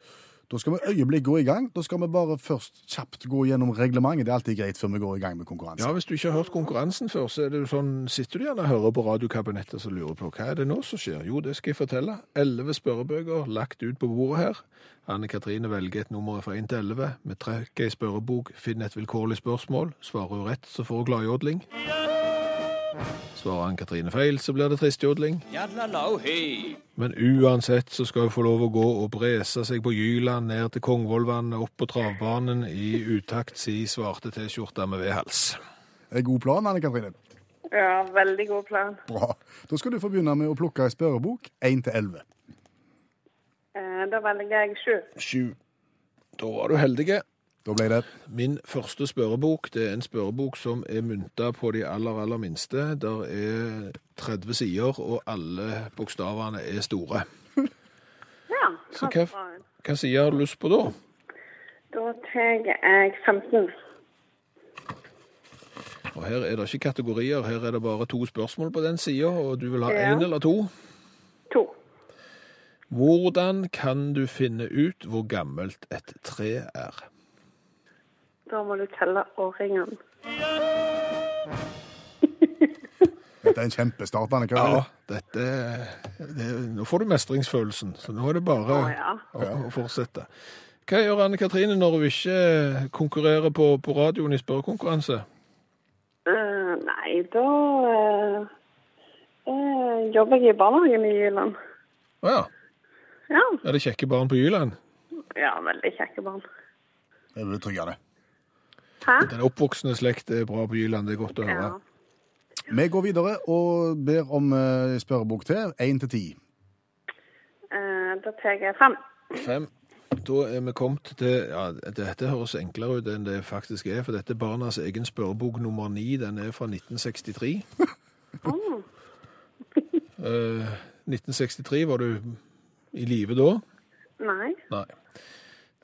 Da skal vi øyeblikk gå i gang. Da skal vi bare først kjapt gå gjennom reglementet. Det er alltid greit før vi går i gang med konkurransen. Ja, Hvis du ikke har hørt konkurransen før, så er det jo sånn, sitter du gjerne og hører på Radiokabinettet og så lurer på hva er det nå som skjer. Jo, det skal jeg fortelle. Elleve spørrebøker lagt ut på bordet her. Anne Katrine velger et nummer fra 1 til 11. Vi trekker ei spørrebok, finner et vilkårlig spørsmål. Svarer hun rett, så får hun gladjodling. Svarer Anne Katrine feil, så blir det tristjodling. Men uansett så skal hun få lov å gå og brese seg på Jyland, ned til Kongvollvannet, opp på travbanen i utakt si svarte T-skjorte med vedhals. Er God plan, Anne Katrine. Ja, veldig god plan. Bra. Da skal du få begynne med å plukke ei spørrebok 1 til 11. Eh, da velger jeg sju. Sju. Da var du heldige. Da ble det Min første spørrebok det er en spørrebok som er mynta på de aller, aller minste. Der er 30 sider, og alle bokstavene er store. Ja, Så det hva, hva side har du lyst på da? Da tar jeg 15. Og Her er det ikke kategorier, her er det bare to spørsmål på den sida, og du vil ha Ja. én eller to? To. Hvordan kan du finne ut hvor gammelt et tre er? Da må du telle årringen. Dette er en kjempestart, Annika. Ja, dette det, Nå får du mestringsfølelsen, så nå er det bare Å, ja. å, å fortsette. Hva gjør Anne Katrine når hun ikke konkurrerer på, på radioen i spørrekonkurranse? Eh, nei, da eh, eh, jobber jeg i barnehagen i Jyland. Å ja, Ja, er det kjekke barn på Jyland? ja veldig kjekke barn. Det er betryggende. Hæ? Den oppvoksende slekt er bra på Jyland, det er godt å høre. Ja. Vi går videre og ber om eh, spørrebok til. Én til ti. Eh, da tar jeg fem. Fem. Da er vi kommet til ja, Dette høres enklere ut enn det faktisk er, for dette er barnas egen spørrebok nummer ni. Den er fra 1963. Mm. Eh, 1963 var du i live da? Nei. Nei.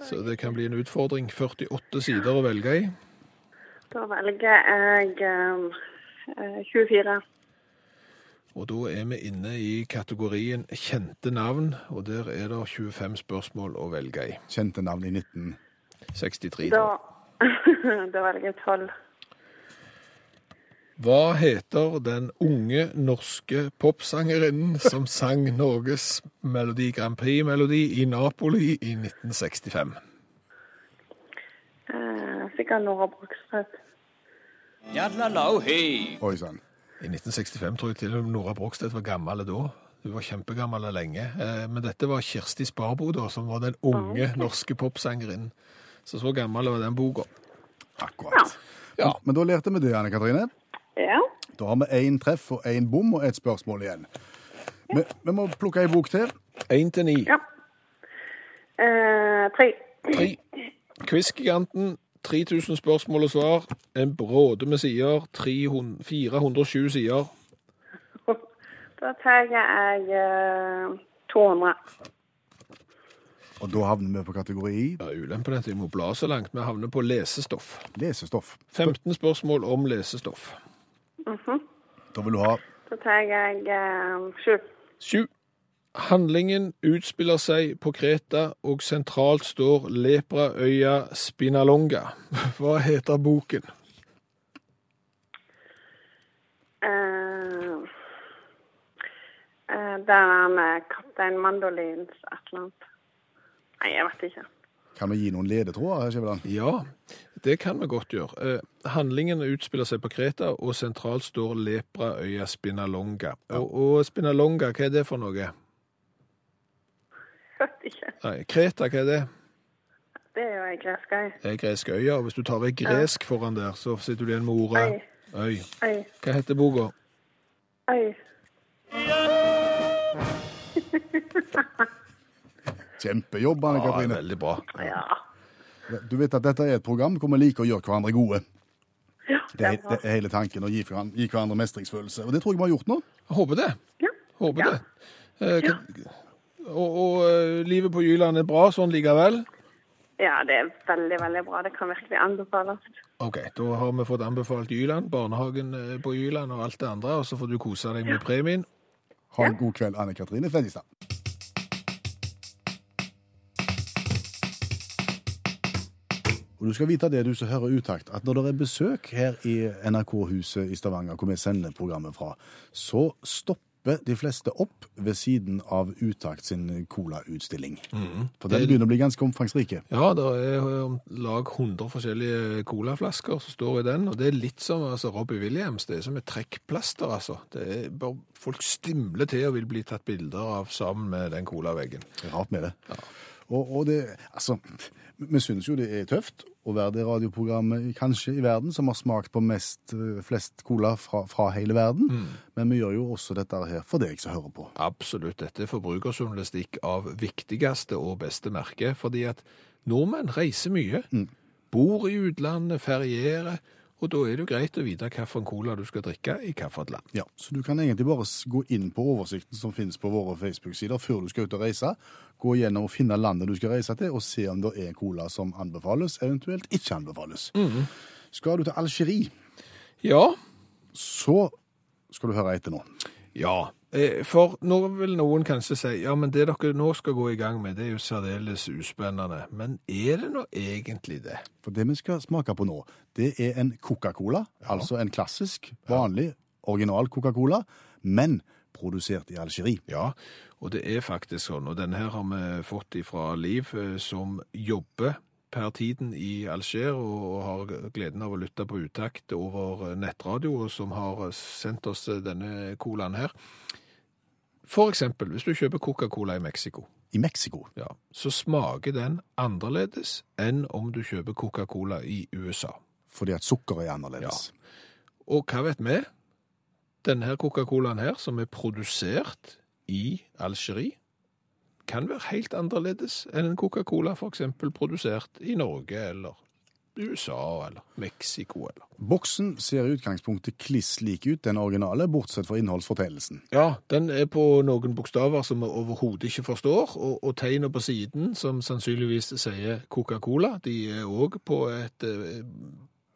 Så det kan bli en utfordring. 48 sider å velge i. Da velger jeg eh, eh, 24. Og da er vi inne i kategorien kjente navn, og der er det 25 spørsmål å velge i. Kjente navn i 19. 63. Da, da. da velger jeg 12. Hva heter den unge norske popsangerinnen som sang Norges Melodi Grand Prix-melodi i Napoli i 1965? Eh, sikkert Nora Brogstøt. Oi sånn. sann. I 1965 tror jeg til og med Nora Brogstedt var gammel da. Hun var kjempegammel lenge. Eh, Men dette var Kirsti Sparbo, da, som var den unge norske popsangerinnen. Så så gammel var den boka. Akkurat. Ja. Men da lærte vi det, Anne Katrine. Ja. Da har vi én treff og én bom og ett spørsmål igjen. Vi, vi må plukke ei bok til. Én til ni. ja. Eh, tre. Tre. Quiz-giganten. 3000 spørsmål og svar. En bråde med sider. 300 407 sider. Da tar jeg eh, 200. Og da havner vi på kategori Ja, ulempen er at vi må bla så langt. Vi havner på lesestoff. lesestoff. 15 spørsmål om lesestoff. Da vil du ha Da tar jeg eh, 7. 7. Handlingen utspiller seg på Kreta, og sentralt står lepraøya Spinalonga. Hva heter boken? Eh, eh, det er den eh, Kaptein Mandolins et eller annet. Nei, jeg vet ikke. Kan vi gi noen ledetråder? Skjæveland? Ja, det kan vi godt gjøre. Eh, handlingen utspiller seg på Kreta, og sentralt står lepraøya Spinalonga. Og, og Spinalonga, hva er det for noe? Jeg vet ikke. Nei, Kreta, hva er det? Det er jo ei gresk øy. Det er greske øya, og hvis du tar ei gresk foran der, så sitter du igjen med ordet øy. Øy. Hva heter boka? Øy. Kjempejobb, Anne Katrine. veldig bra. Ja. Du vet at dette er et program hvor vi liker å gjøre hverandre gode. Ja, Det er, det er hele tanken å gi hverandre, gi hverandre mestringsfølelse. Og det tror jeg vi har gjort nå. Jeg Håper det. Ja. Håper Ja. det. Eh, hva- Og, og eh, livet på Jyland er bra sånn likevel? ja, det er veldig, veldig bra. Det kan virkelig anbefales. OK, da har vi fått anbefalt Jyland, barnehagen eh, på Jyland og alt det andre, og så får du kose deg med premien. Ha en god kveld, Anne Katrine Fredrikstad. Og du skal vite det, du som hører utakt, at når det er besøk her i NRK-huset i Stavanger, hvor vi sender programmet fra, så stopper de fleste opp ved siden av Utakt sin colautstilling. For den begynner å bli ganske omfangsrike. Ja, det er eh, om lag 100 forskjellige colaflasker som står i den, og det er litt som altså, Robbie Williams. Det er som et trekkplaster, altså. Det er bare, folk stimler til og vil bli tatt bilder av sammen med den colaveggen. Rart med det. Og, og det, altså, vi synes jo det er tøft å være det radioprogrammet i- kanskje i verden som har smakt på mest, eh, flest cola fra, fra hele verden, men vi gjør jo også dette her for deg som hører på. Absolutt. Dette er forbrukerjournalistikk av viktigste og beste merke, fordi at nordmenn reiser mye, bor i utlandet, ferierer, og da er det jo greit å vite hvilken cola du skal drikke i hvilket land. Ja, så du kan egentlig bare s- gå inn på oversikten som finnes på våre Facebook-sider før du skal ut og reise, gå gjennom og finne landet du skal reise til, og se om det er cola som anbefales, eventuelt ikke anbefales. Skal du til Algerie, Ja, så skal du høre etter nå. ja. Eh, For nå vil noen kanskje si ja, men det dere nå skal gå i gang med, det er jo særdeles uspennende. Men er det nå egentlig det? For det vi skal smake på nå, det er en Coca-Cola, altså en klassisk, vanlig, original Coca-Cola, men produsert i Algerie. Ja, og det er faktisk sånn, og den her har vi fått ifra Liv, eh, som jobber per tiden i Alger, og og har gleden av å lytte på utakt over eh, nettradio, og som har eh, sendt oss eh, denne colaen her. For eksempel, hvis du kjøper Coca-Cola i Mexico, I Mexico. ja, så smaker den annerledes enn om du kjøper Coca-Cola i USA. Fordi at sukkeret er annerledes. Og hva vet vi? Denne her Coca-Colaen her, som er produsert i Algerie, kan være helt annerledes enn en Coca-Cola for eksempel produsert i Norge, eller USA, eller Mexico, eller... Boksen ser i utgangspunktet kliss lik ut den originale, bortsett fra innholdsfortellelsen. Ja, den er på noen bokstaver som vi overhodet ikke forstår, og, og tegnene på siden, som sannsynligvis sier Coca-Cola, de er også på et eh,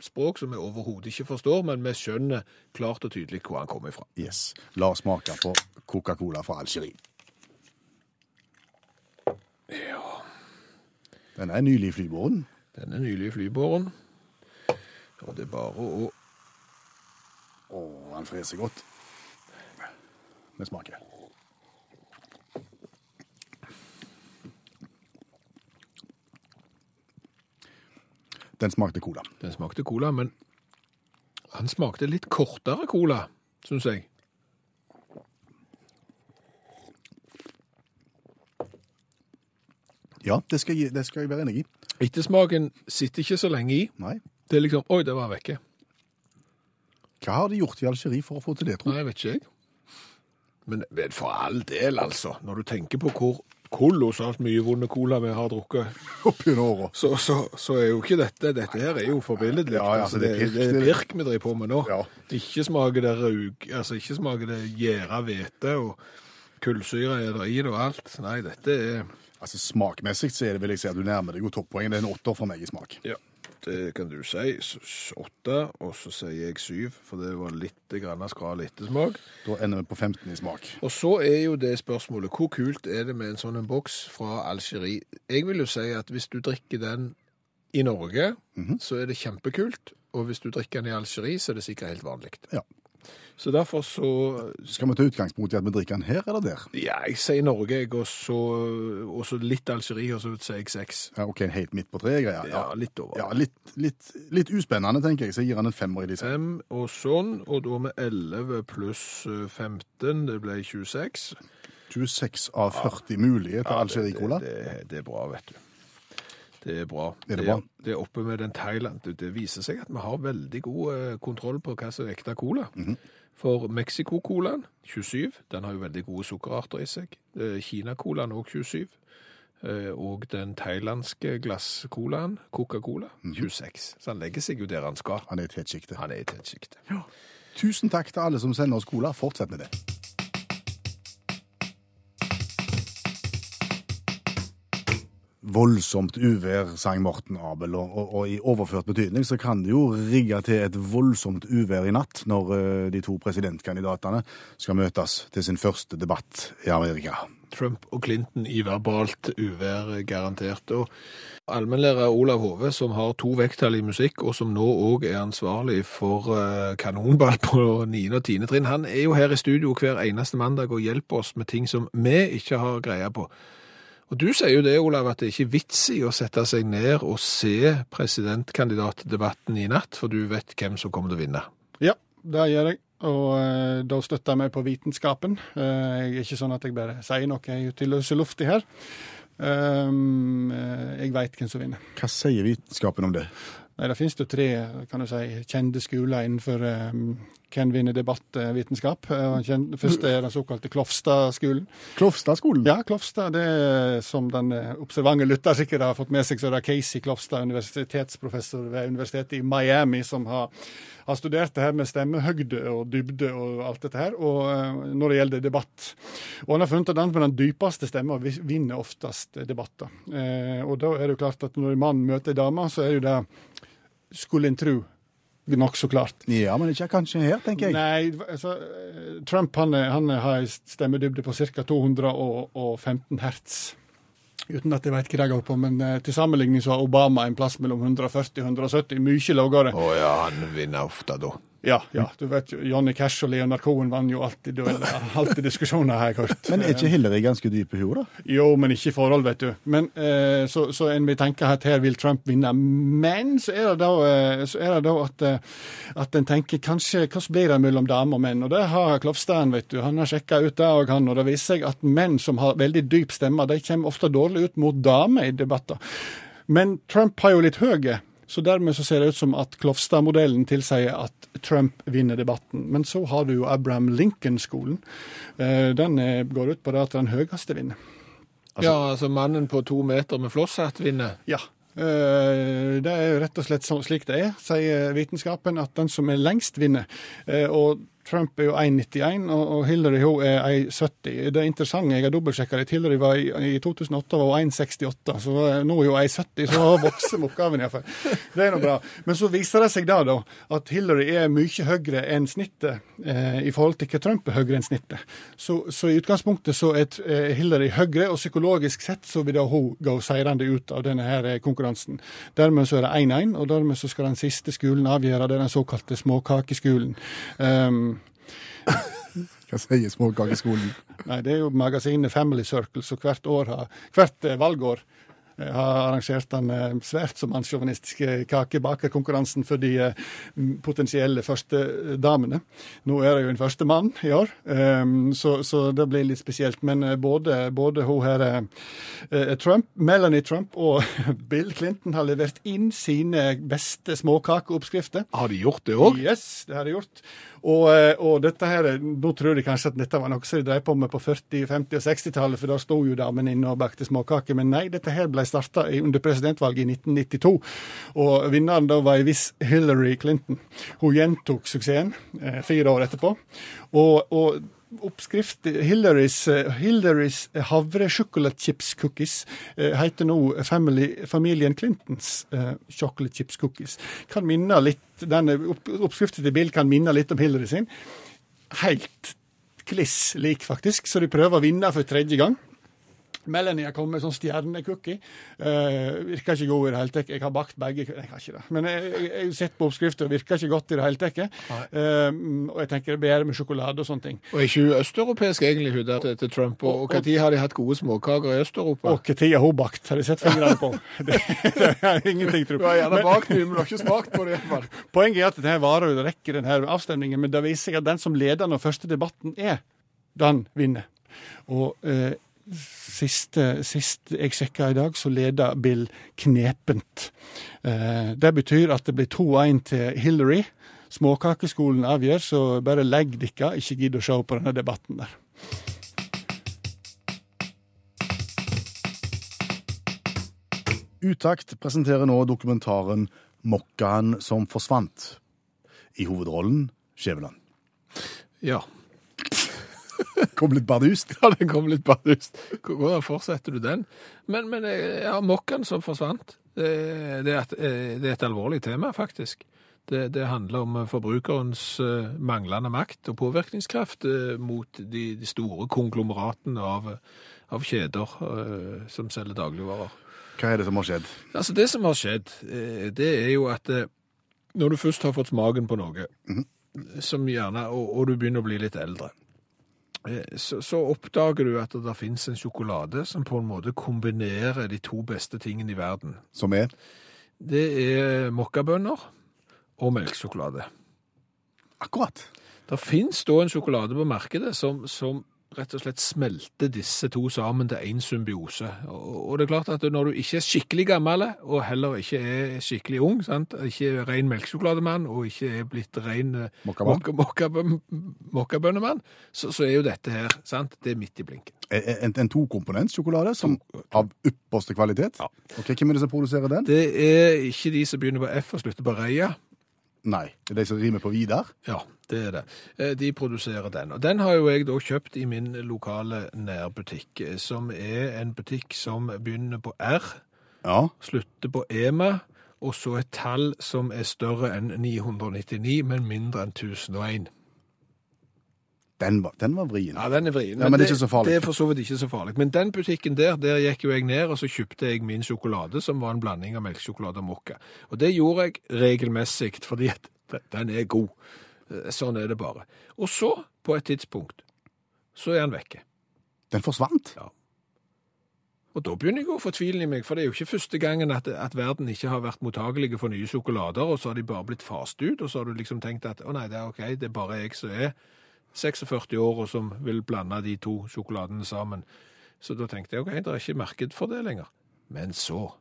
språk som vi overhodet ikke forstår, men vi skjønner klart og tydelig hvor han kommer fra. Yes. La oss smake på Coca-Cola fra Algerie. Den er nylig i flybordet. Den er nylig i flybåren. Og det er bare å Å, den freser godt. Vi smaker. Den smakte cola. Den smakte cola, men han smakte litt kortere cola, syns jeg. Ja, det skal, jeg, det skal jeg være enig i. Ettersmaken sitter ikke så lenge i. Nei. Det er liksom Oi, det var vekke. Hva har de gjort i Algerie for å få til det, tro? Nei, jeg vet ikke, jeg. Men men for all del, altså. Når du tenker på hvor kolossalt mye vond cola vi har drukket, Opp gjennom åra. så, så, så er jo ikke dette Dette her er jo forbilledlig. Ja, ja, altså, det er pirk, det, det er er- pirk vi driver på med nå. Ja. Ikke smaker det raug... Altså, ikke smaker det gjæra hvete og kullsyre er det i det og alt. Nei, dette er Altså, Smakmessig så er det vel jeg si at du nærmer deg jo toppoeng. Det er en åtter for meg i smak. Ja, det kan du si. S- s- Åtte, og så sier jeg syv, for det var litt grann skral ettersmak. Da ender vi på 15 i smak. Og så er jo det spørsmålet, hvor kult er det med en sånn en boks fra Algerie? Jeg vil jo si at hvis du drikker den i Norge, Mhm. så er det kjempekult, og hvis du drikker den i Algerie, så er det sikkert helt vanlig. Ja. Så derfor så Skal vi ta utgangspunkt i at vi drikker den her eller der? Ja, jeg sier Norge, jeg, og så, og så litt Algerie, og så sier jeg seks. Ja, OK, en helt midt på treet-greia. Ja, litt over. Ja, litt, litt, litt uspennende, tenker jeg. Så jeg gir han en femmer i disse. fem og sånn, og da med 11 pluss eh, 15, det ble 26. 26 av 40 mulige til Algerie Cola. Det, det, det er bra, vet du. Det er bra. Er det bra? Det, er oppe med den Thailand. Det, det viser seg at vi har veldig god eh, kontroll på hva som er ekte cola. Mhm. For Mexico-colaen, 27, den har jo veldig gode sukkerarter i seg. Eh, Kina-colaen også 27. eh, Og den thailandske glass-colaen, Coca-Cola, Mhm. 26. Så han legger seg jo der han skal. Han er i tettsjiktet. Han er i tettsjiktet. Tusen takk til alle som sender oss cola. Fortsett med det. Voldsomt uvær, sang Morten Abel, og, og, og i overført betydning så kan det jo rigge til et voldsomt uvær i natt når eh, de to presidentkandidatene skal møtes til sin første debatt i Amerika. Trump og Clinton i verbalt uvær, garantert. Og allmennlærer Olav Hove, som har to vekttall i musikk, og som nå òg er ansvarlig for eh, kanonball på 9. og 10. trinn, han er jo her i studio hver eneste mandag og hjelper oss med ting som vi ikke har greie på. Og Du sier jo det, Olav, at det er ikke vits i å sette seg ned og se presidentkandidatdebatten i natt, for du vet hvem som kommer til å vinne. Ja, det gjør jeg. Og eh, da støtter jeg meg på vitenskapen. Eh, jeg er ikke sånn at jeg bare sier noe jeg er til løse lufta her. Ehm, eh, jeg veit hvem som vinner. Hva sier vitenskapen om det? Nei, Det finnes jo tre kan du si, kjente skoler innenfor ehm, hvem vinner debattvitenskap. Eh, og kjen- Først er den såkalte Klofstad-skolen. Klofstad-skolen. Ja, Klofstad, det er, som den eh, observante lytter sikkert har fått med seg, så er det Casey Klofstad, universitetsprofessor ved universitetet i Miami, som har, har studert det her med stemmehøgde og dybde og alt dette her, og eh, når det gjelder debatt. Og han har funnet at den med den dypeste stemma vi- vinner oftest debatter. Eh, og da er det jo klart at når en mann møter ei dame, så er det jo det, skulle en tro, nokså klart. Ja, men ikke kanskje her, tenker jeg. Nei, altså, eh, Trump han, er- han har en stemmedybde på ca. 215 hertz. Uten at jeg vet hva det går på, men eh, til sammenligning så har Obama en plass mellom 140 og 170, mye lavere. Å ja, han vinner ofte da. Ja, ja, du vet jo, Johnny Cash og Leonard Cohen vant jo alltid, dueller, alltid diskusjoner, har jeg hørt. Men er ikke Hillary ganske dyp i hodet, da? Jo, men ikke i forhold, vet du. Men, eh, så, så en vil tenke at her vil Trump vinne. Men så er det da, eh, så er det da at, eh, at en tenker kanskje hva som blir det mellom damer og menn? Og det har Klofstad, vet du. Han har sjekka ut det òg, han. Og det viser seg at menn som har veldig dyp stemme, de kommer ofte dårlig ut mot damer i debatter. Men Trump har jo litt høye. Så dermed så ser det ut som at Klofstad-modellen tilsier at Trump vinner debatten. Men så har du jo Abraham Lincoln-skolen. Eh, Den eh, går ut på det at den høyeste vinner. ja, altså mannen på to meter med flosshatt vinner. Ja. eh, Det er jo rett og slett sånn- slik det er, sier vitenskapen, at den som er lengst, vinner. Eh, Og Trump er jo 1,91, og og Hillary hun er 1,70. Det interessante, jeg har dobbeltsjekka litt, Hillary var i, i 2008 var hun 1,68, så eh, nå er hun 1,70, så hun vokser med oppgaven iallfall. Det er nå bra. Men så viser det seg da, da, at Hillary er mye høyere enn snittet eh, i forhold til hva Trump er høyere enn snittet. Så, så i utgangspunktet så er eh, Hillary høyere, og psykologisk sett så vil da hun gå seirende ut av denne her eh, konkurransen. Dermed så er det 1-1, og dermed så skal den siste skolen avgjøre, det er den såkalte småkakeskolen. Um, Hva sier småkakeskolen? Nei, det er jo magasinet Family Circle som hvert, år har, hvert eh, valgår eh, har arrangert den eh, svært så mannssjåvinistiske kakebakerkonkurransen for de eh, m- potensielle førstedamene. Nå er det jo en førstemann i år, ehm, så, så det blir litt spesielt. Men eh, både, både hun her eh, eh, Trump, Melanie Trump og Bill Clinton har levert inn sine beste småkakeoppskrifter. Har de gjort det òg? Yes, det har jeg gjort. Og, eh, og dette her, er- nå tror de kanskje at dette var noe som de drev på med på 40-, 50- og 60-tallet, for da sto jo damen inne og bakte småkaker. Men nei, dette her ble starta under presidentvalget i 1992, og vinneren da var en viss Hillary Clinton. Hun gjentok suksessen eh, fire år etterpå. Og, og oppskrift Hillarys, eh, Hillarys havre-sjokoladechipscookies eh, heter nå family, familien Clintons eh, chocolate chips cookies. Kan minne litt, denne opp, Oppskriften til Bill kan minne litt om Hillary sin. Helt kliss lik, faktisk, så de prøver å vinne for tredje gang. Melanie har kommet med sånn stjernecookie. Uh, virker ikke god i det hele tatt. Jeg har bakt begge Jeg har ikke det. Men jeg jeg- jeg har sett på oppskriften, og virker ikke godt i det hele tatt. Eh, og jeg tenker det er bedre med sjokolade og sånne ting. Og er ikke hun østeuropeisk egentlig, hun der til- til Trump? Og, og når har de hatt gode småkaker i Øst-Europa? Og hva tid har hun bakt? Har de sett fingrene på? Det, det er ingenting, tror Du har jeg. gjerne bakt mye, men du har ikke smakt på det iallfall. Poenget er at denne varer jo rekker denne avstemningen, men det viser seg at den som leder når første debatten er, den vinner. Og eh, siste, siste jeg sjekka i dag, så leder Bill knepent. Eh, det betyr at det blir 2-1 til Hillary. Småkakeskolen avgjør, så bare legg dere, ikke gidd å se på denne debatten der. Utakt presenterer nå dokumentaren Mokkaen som forsvant. I hovedrollen Skjæveland. Ja. Kom litt bardust. ja, den kom litt bardust. Hvordan fortsetter du den? Men, men eh, ja, mokkan som forsvant, eh, det er, et, eh, det er et alvorlig tema, faktisk. Det, det handler om eh, forbrukerens eh, manglende makt og påvirkningskraft eh, mot de, de store konglomeratene av, eh, av kjeder eh, som selger dagligvarer. Hva er det som har skjedd? Altså Det som har skjedd, eh, det er jo at eh, når du først har fått smaken på noe, som gjerne, og, og du begynner å bli litt eldre, eh, så, så oppdager du at det finnes en sjokolade som på en måte kombinerer de to beste tingene i verden. Som er Det er mokkabønner og melksjokolade. akkurat. Det finnes da en sjokolade på markedet som, som rett og slett smelter disse to sammen til én symbiose. Og, og det er klart at når du ikke er skikkelig gammel, og heller ikke er skikkelig ung, sant? ikke er ren melkesjokolademann og ikke er blitt ren eh, Mokkamann. mokka- mokkabø- mokkabønnemann, så, så er jo dette her sant? Det er midt i blinken. En, en tokomponentsjokolade som av ypperste kvalitet. Ja. Ok, Hvem er det som produserer den? Det er ikke de som begynner på F og slutter på Reia. Nei, det er de som rimer på Vidar. Ja, det er det. Eh, De produserer den. Og den har jo jeg da kjøpt i min lokale nærbutikk, eh, som er en butikk som begynner på R, Ja. slutter på EMA, og så et tall som er større enn 999, men mindre enn 1001. Den var, den var vrien. Ja, den er vrien. Ja, men det er ikke så farlig. Det er for så vidt ikke så farlig. Men den butikken der, der gikk jo jeg ned, og så kjøpte jeg min sjokolade, som var en blanding av melkesjokolade og mokka. Og det gjorde jeg regelmessig, fordi at den er god. Eh, Sånn er det bare. Og så, på et tidspunkt, så er han vekke. Den forsvant. Og da begynner jeg å fortvile i meg, for det er jo ikke første gangen at, at verden ikke har vært mottagelige for nye sjokolader, og så har de bare blitt fast ut, og så har du liksom tenkt at å nei, det er ok, det er bare jeg som er 46 år og som vil blande de to sjokoladene sammen. Så da tenkte jeg ok, det er ikke marked for det lenger. Men så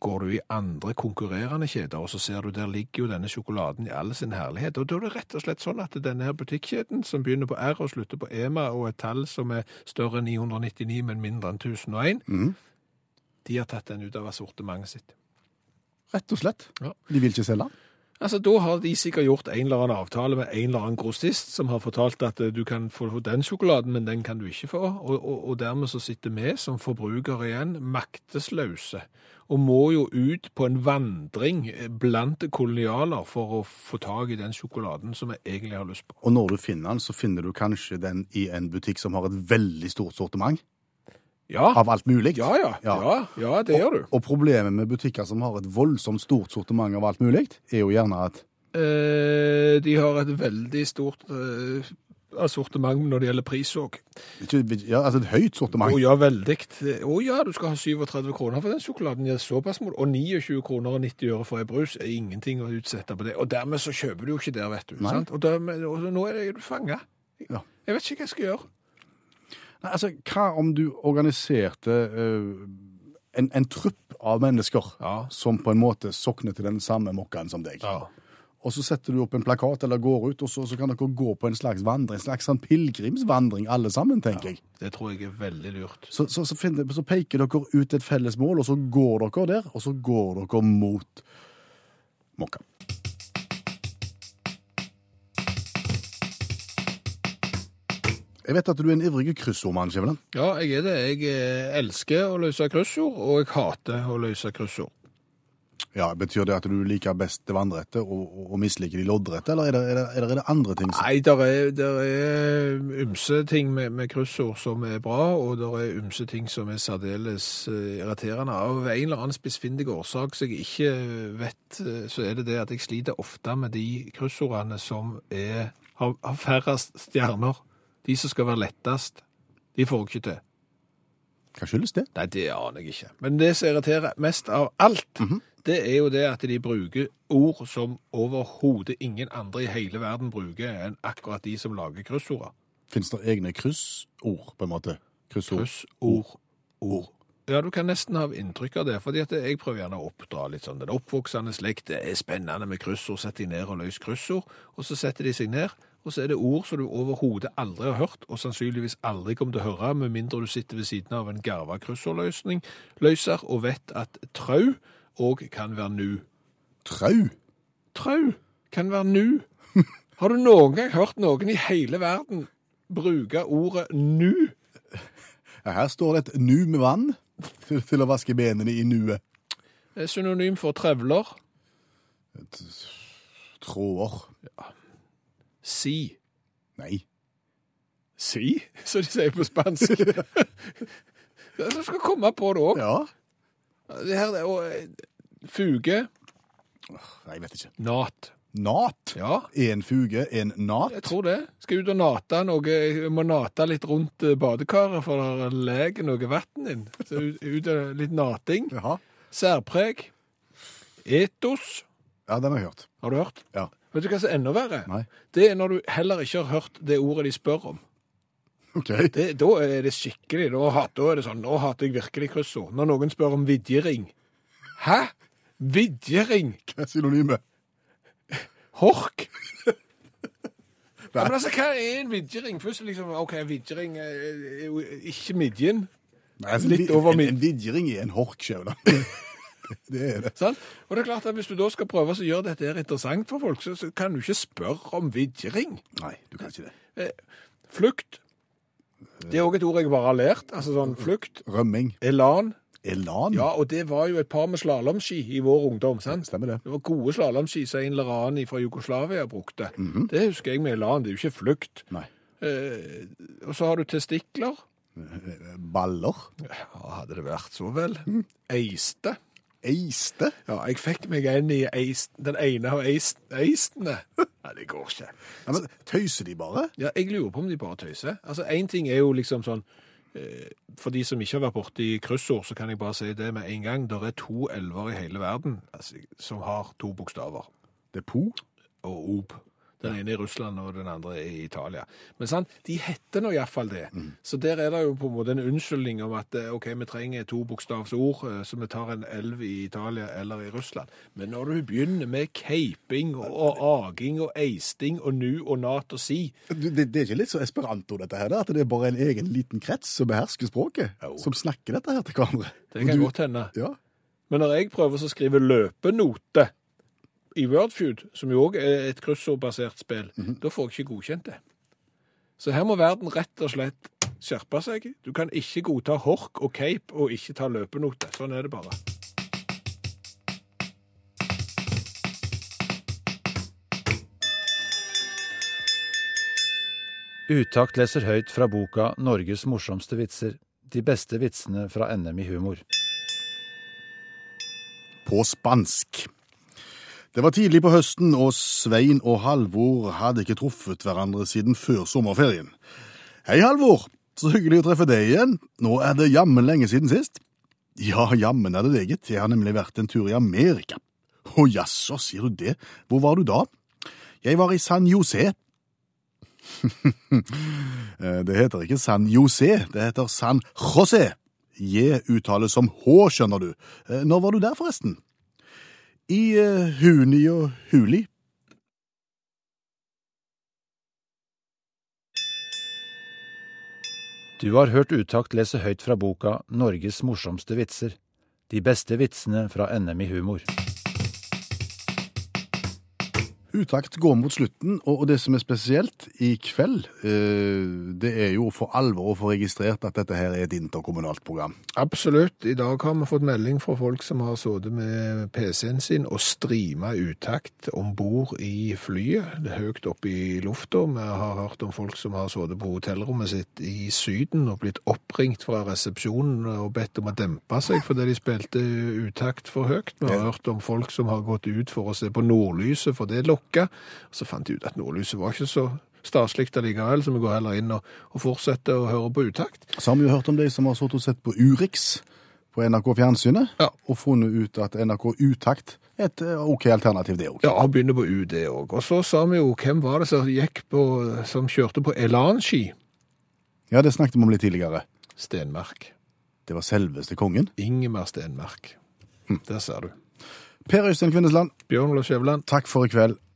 går du i andre konkurrerende kjeder, og så ser du der ligger jo denne sjokoladen i all sin herlighet. Og da er det rett og slett sånn at denne her butikkjeden, som begynner på R og slutter på EMA, og et tall som er større enn 999, men mindre enn 1001, de har tatt den ut av assortimentet sitt. Rett og slett. Ja. De vil ikke selge den. Altså, Da har de sikkert gjort en eller annen avtale med en eller annen grossist som har fortalt at eh, du kan få den sjokoladen, men den kan du ikke få. Og, og, og dermed så sitter vi som forbrukere igjen maktesløse og må jo ut på en vandring eh, blant kolonialer for å få tak i den sjokoladen som vi egentlig har lyst på. Og når du finner den, så finner du kanskje den i en butikk som har et veldig stort sortiment Ja, av alt mulig. ja, ja, ja, ja det gjør du. Og problemet med butikker som har et voldsomt stort sortiment av alt mulig, er jo gjerne at Eh, de har et veldig stort eh, assortiment når det gjelder pris òg. ikke- ja, altså et høyt Å sortiment. ja, veldig. Å ja, du skal ha 37 kroner for den sjokoladen. Ja, såpass må du. Og 29 kroner og 90 øre for ei brus er ingenting å utsette på det. Og dermed så kjøper du jo ikke der, vet du. Nei. Sant? Og, dermed, og nå er det- er du fanga. Ja. Jeg vet ikke hva jeg skal gjøre. Nei, altså, hva om du organiserte eh, en, en trupp av mennesker Ja. som på en måte sokner til den samme mokkaen som deg? Ja. Og så setter du opp en plakat eller går ut, og så, så kan dere gå på en slags vandring, en slags sånn pilegrimsvandring alle sammen, tenker jeg. Det tror jeg er veldig lurt. Så, så, så, finner, så peker dere ut et felles mål, og så går dere der, og så går dere mot mokka. Jeg vet at du er en ivrig kryssordmann, Skjæveland. Ja, jeg er det. Jeg eh, elsker å løse kryssord, og jeg hater å løse kryssord. Ja, Betyr det at du liker best det vannrette og, og, og misliker de loddrette, eller er det, er det, er det, er det andre ting? Som... Nei, der er, der er ymse ting med, med kryssord som er bra, og der er ymse ting som er særdeles eh, irriterende. Av en eller annen spissfindig årsak som jeg ikke vet, eh, så er det det at jeg sliter ofte med de kryssordene som er, har, har færrest stjerner. De som skal være lettest, de får jeg ikke til. Hva skyldes det? Nei, det aner jeg ikke. Men det som irriterer mest av alt, det er jo det at de bruker ord som overhodet ingen andre i hele verden bruker enn akkurat de som lager kryssorder. Fins det egne kryssord, på en måte? Kryssord. Kryssord. Ord. Ja, du kan nesten ha inntrykk av det, fordi at jeg prøver gjerne å oppdra litt sånn. Den oppvoksende slekt det er spennende med kryssord. Sett deg ned og løs kryssord, og så setter de seg ned, og så er det ord som du overhodet aldri har hørt, og sannsynligvis aldri kommer til å høre, med mindre du sitter ved siden av en garva kryssordløsning, løser, og vet at trau og kan være nu. Trau? Trau kan være nu. Har du noen gang hørt noen i hele verden bruke ordet nu? Ja, her står det et nu med vann til, til å vaske benene i nuet. Det er synonym for trevler. Et Tråder. Si. Nei. Si, som de sier på spansk. Du skal komme på det òg. Ja. Det her er jo eh, Fuge. Nei, jeg vet ikke. Nat. Nat. Ja, En fuge, en nat. jeg tror det. Skal ut og nate noe. Jeg må nate litt rundt eh, badekaret, for det leker noe vann inn. Så ut, ut og litt nating. Jaha. Særpreg. Etos. Ja, den har jeg hørt. Har du hørt? Ja. Vet du hva som er enda verre? Nei. Det er når du heller ikke har hørt det ordet de spør om. OK. Det, da er det skikkelig. Da, hat- da er det sånn, nå hater jeg virkelig kryssord. Når noen spør om vidjering. Hæ? Vidjering? Hva er synonymet? Hork? Ja, men altså, hva er en vidjering? Først liksom, ok, vidjering eh, er jo ikke midjen, Nei, altså, Litt vi- over en- min- En vidjering er en horkskjevle. det er det. sant? Og det er klart at hvis du da skal prøve å gjøre dette her interessant for folk, så, så kan du ikke spørre om vidjering. Nei, du kan ikke det. Flukt. Det er også et ord jeg bare har lært, altså sånn flukt. Rømming. Elan. Elan? Ja, og det var jo et par med slalomski i vår ungdom, sant? Stemmer det. Det var gode slalomski som en eller annen fra Jugoslavia brukte. Det husker jeg med elan, det er jo ikke flukt. Nei. Eh, og så har du testikler. Baller? Ja, hadde det vært så vel. Mm. Eiste. Eiste? Ja, jeg fikk meg en i eist, den ene av eist, eistene. Nei, det går ikke. Ja, men Tøyser de bare? Ja, jeg lurer på om de bare tøyser. Altså, Én ting er jo liksom sånn eh, For de som ikke har vært borti kryssord, så kan jeg bare si det med en gang. Det er to elver i hele verden altså, som har to bokstaver Det er Po. og ob. Den ene i Russland, og den andre i Italia. Men sant, de heter nå iallfall det. Så der er det jo på en måte en unnskyldning om at eh, OK, vi trenger to bokstavsord, eh, så vi tar en elv i Italia eller i Russland. Men når du begynner med keiping og, og aging og eisting og nu og nat og si, Du, Det, det er ikke litt så esperanto, dette her? da, At det er bare en egen liten krets som behersker språket? Jo. Som snakker dette her til hverandre? det kan Du- godt hende. Ja. Men når jeg prøver å skrive løpenote i Wordfeud, som jo òg er et kryssordbasert spill, da får jeg ikke godkjent det. Så her må verden rett og slett skjerpe seg. Du kan ikke godta hork og cape og ikke ta løpenote. Sånn er det bare. Utakt leser høyt fra boka 'Norges morsomste vitser'. De beste vitsene fra NM i humor. på spansk. Det var tidlig på høsten, og Svein og Halvor hadde ikke truffet hverandre siden før sommerferien. Hei, Halvor! Så hyggelig å treffe deg igjen. Nå er det jammen lenge siden sist. Ja, jammen er det det, gitt. Jeg har nemlig vært en tur i Amerika. Å jaså, sier du det? Hvor var du da? Jeg var i San Jose. Eh, det heter ikke San Jose, det heter San José. J uttales som H, skjønner du. Eh, Når var du der, forresten? I eh, huni og huli. Du har hørt Utakt lese høyt fra boka 'Norges morsomste vitser'. De beste vitsene fra NM i humor. Utakt går mot slutten, og og det som er spesielt i kveld, eh, det er jo for alvor å få registrert at dette her er et interkommunalt program. Absolutt. I dag har vi fått melding fra folk som har sittet med PC-en sin og streama utakt om bord i flyet, høyt oppe i lufta. Vi har hørt om folk som har sittet på hotellrommet sitt i Syden og blitt oppringt fra resepsjonen og bedt om å dempe seg fordi de spilte utakt for høyt. Vi har hørt om folk som har gått ut for å se på nordlyset, for det lokka. Så fant de ut at nordlyset var ikke så staselig allikevel, så vi går heller inn og, og fortsetter å høre på utakt. Så har vi jo hørt om de som har sittet og sett på Urix på NRK Fjernsynet, Ja. og funnet ut at NRK Utakt er et eh, ok alternativ, det òg. Ja, han begynner på U, det òg. Og så sa vi jo hvem var det som, gikk på, som kjørte på Elan-ski? Ja, det snakket vi om litt tidligere. Stenmark. Det var selveste kongen. Ingemar Stenmark. Der ser du. Per Øystein Kvindesland, Bjørn Olav Skjæveland. takk for i kveld.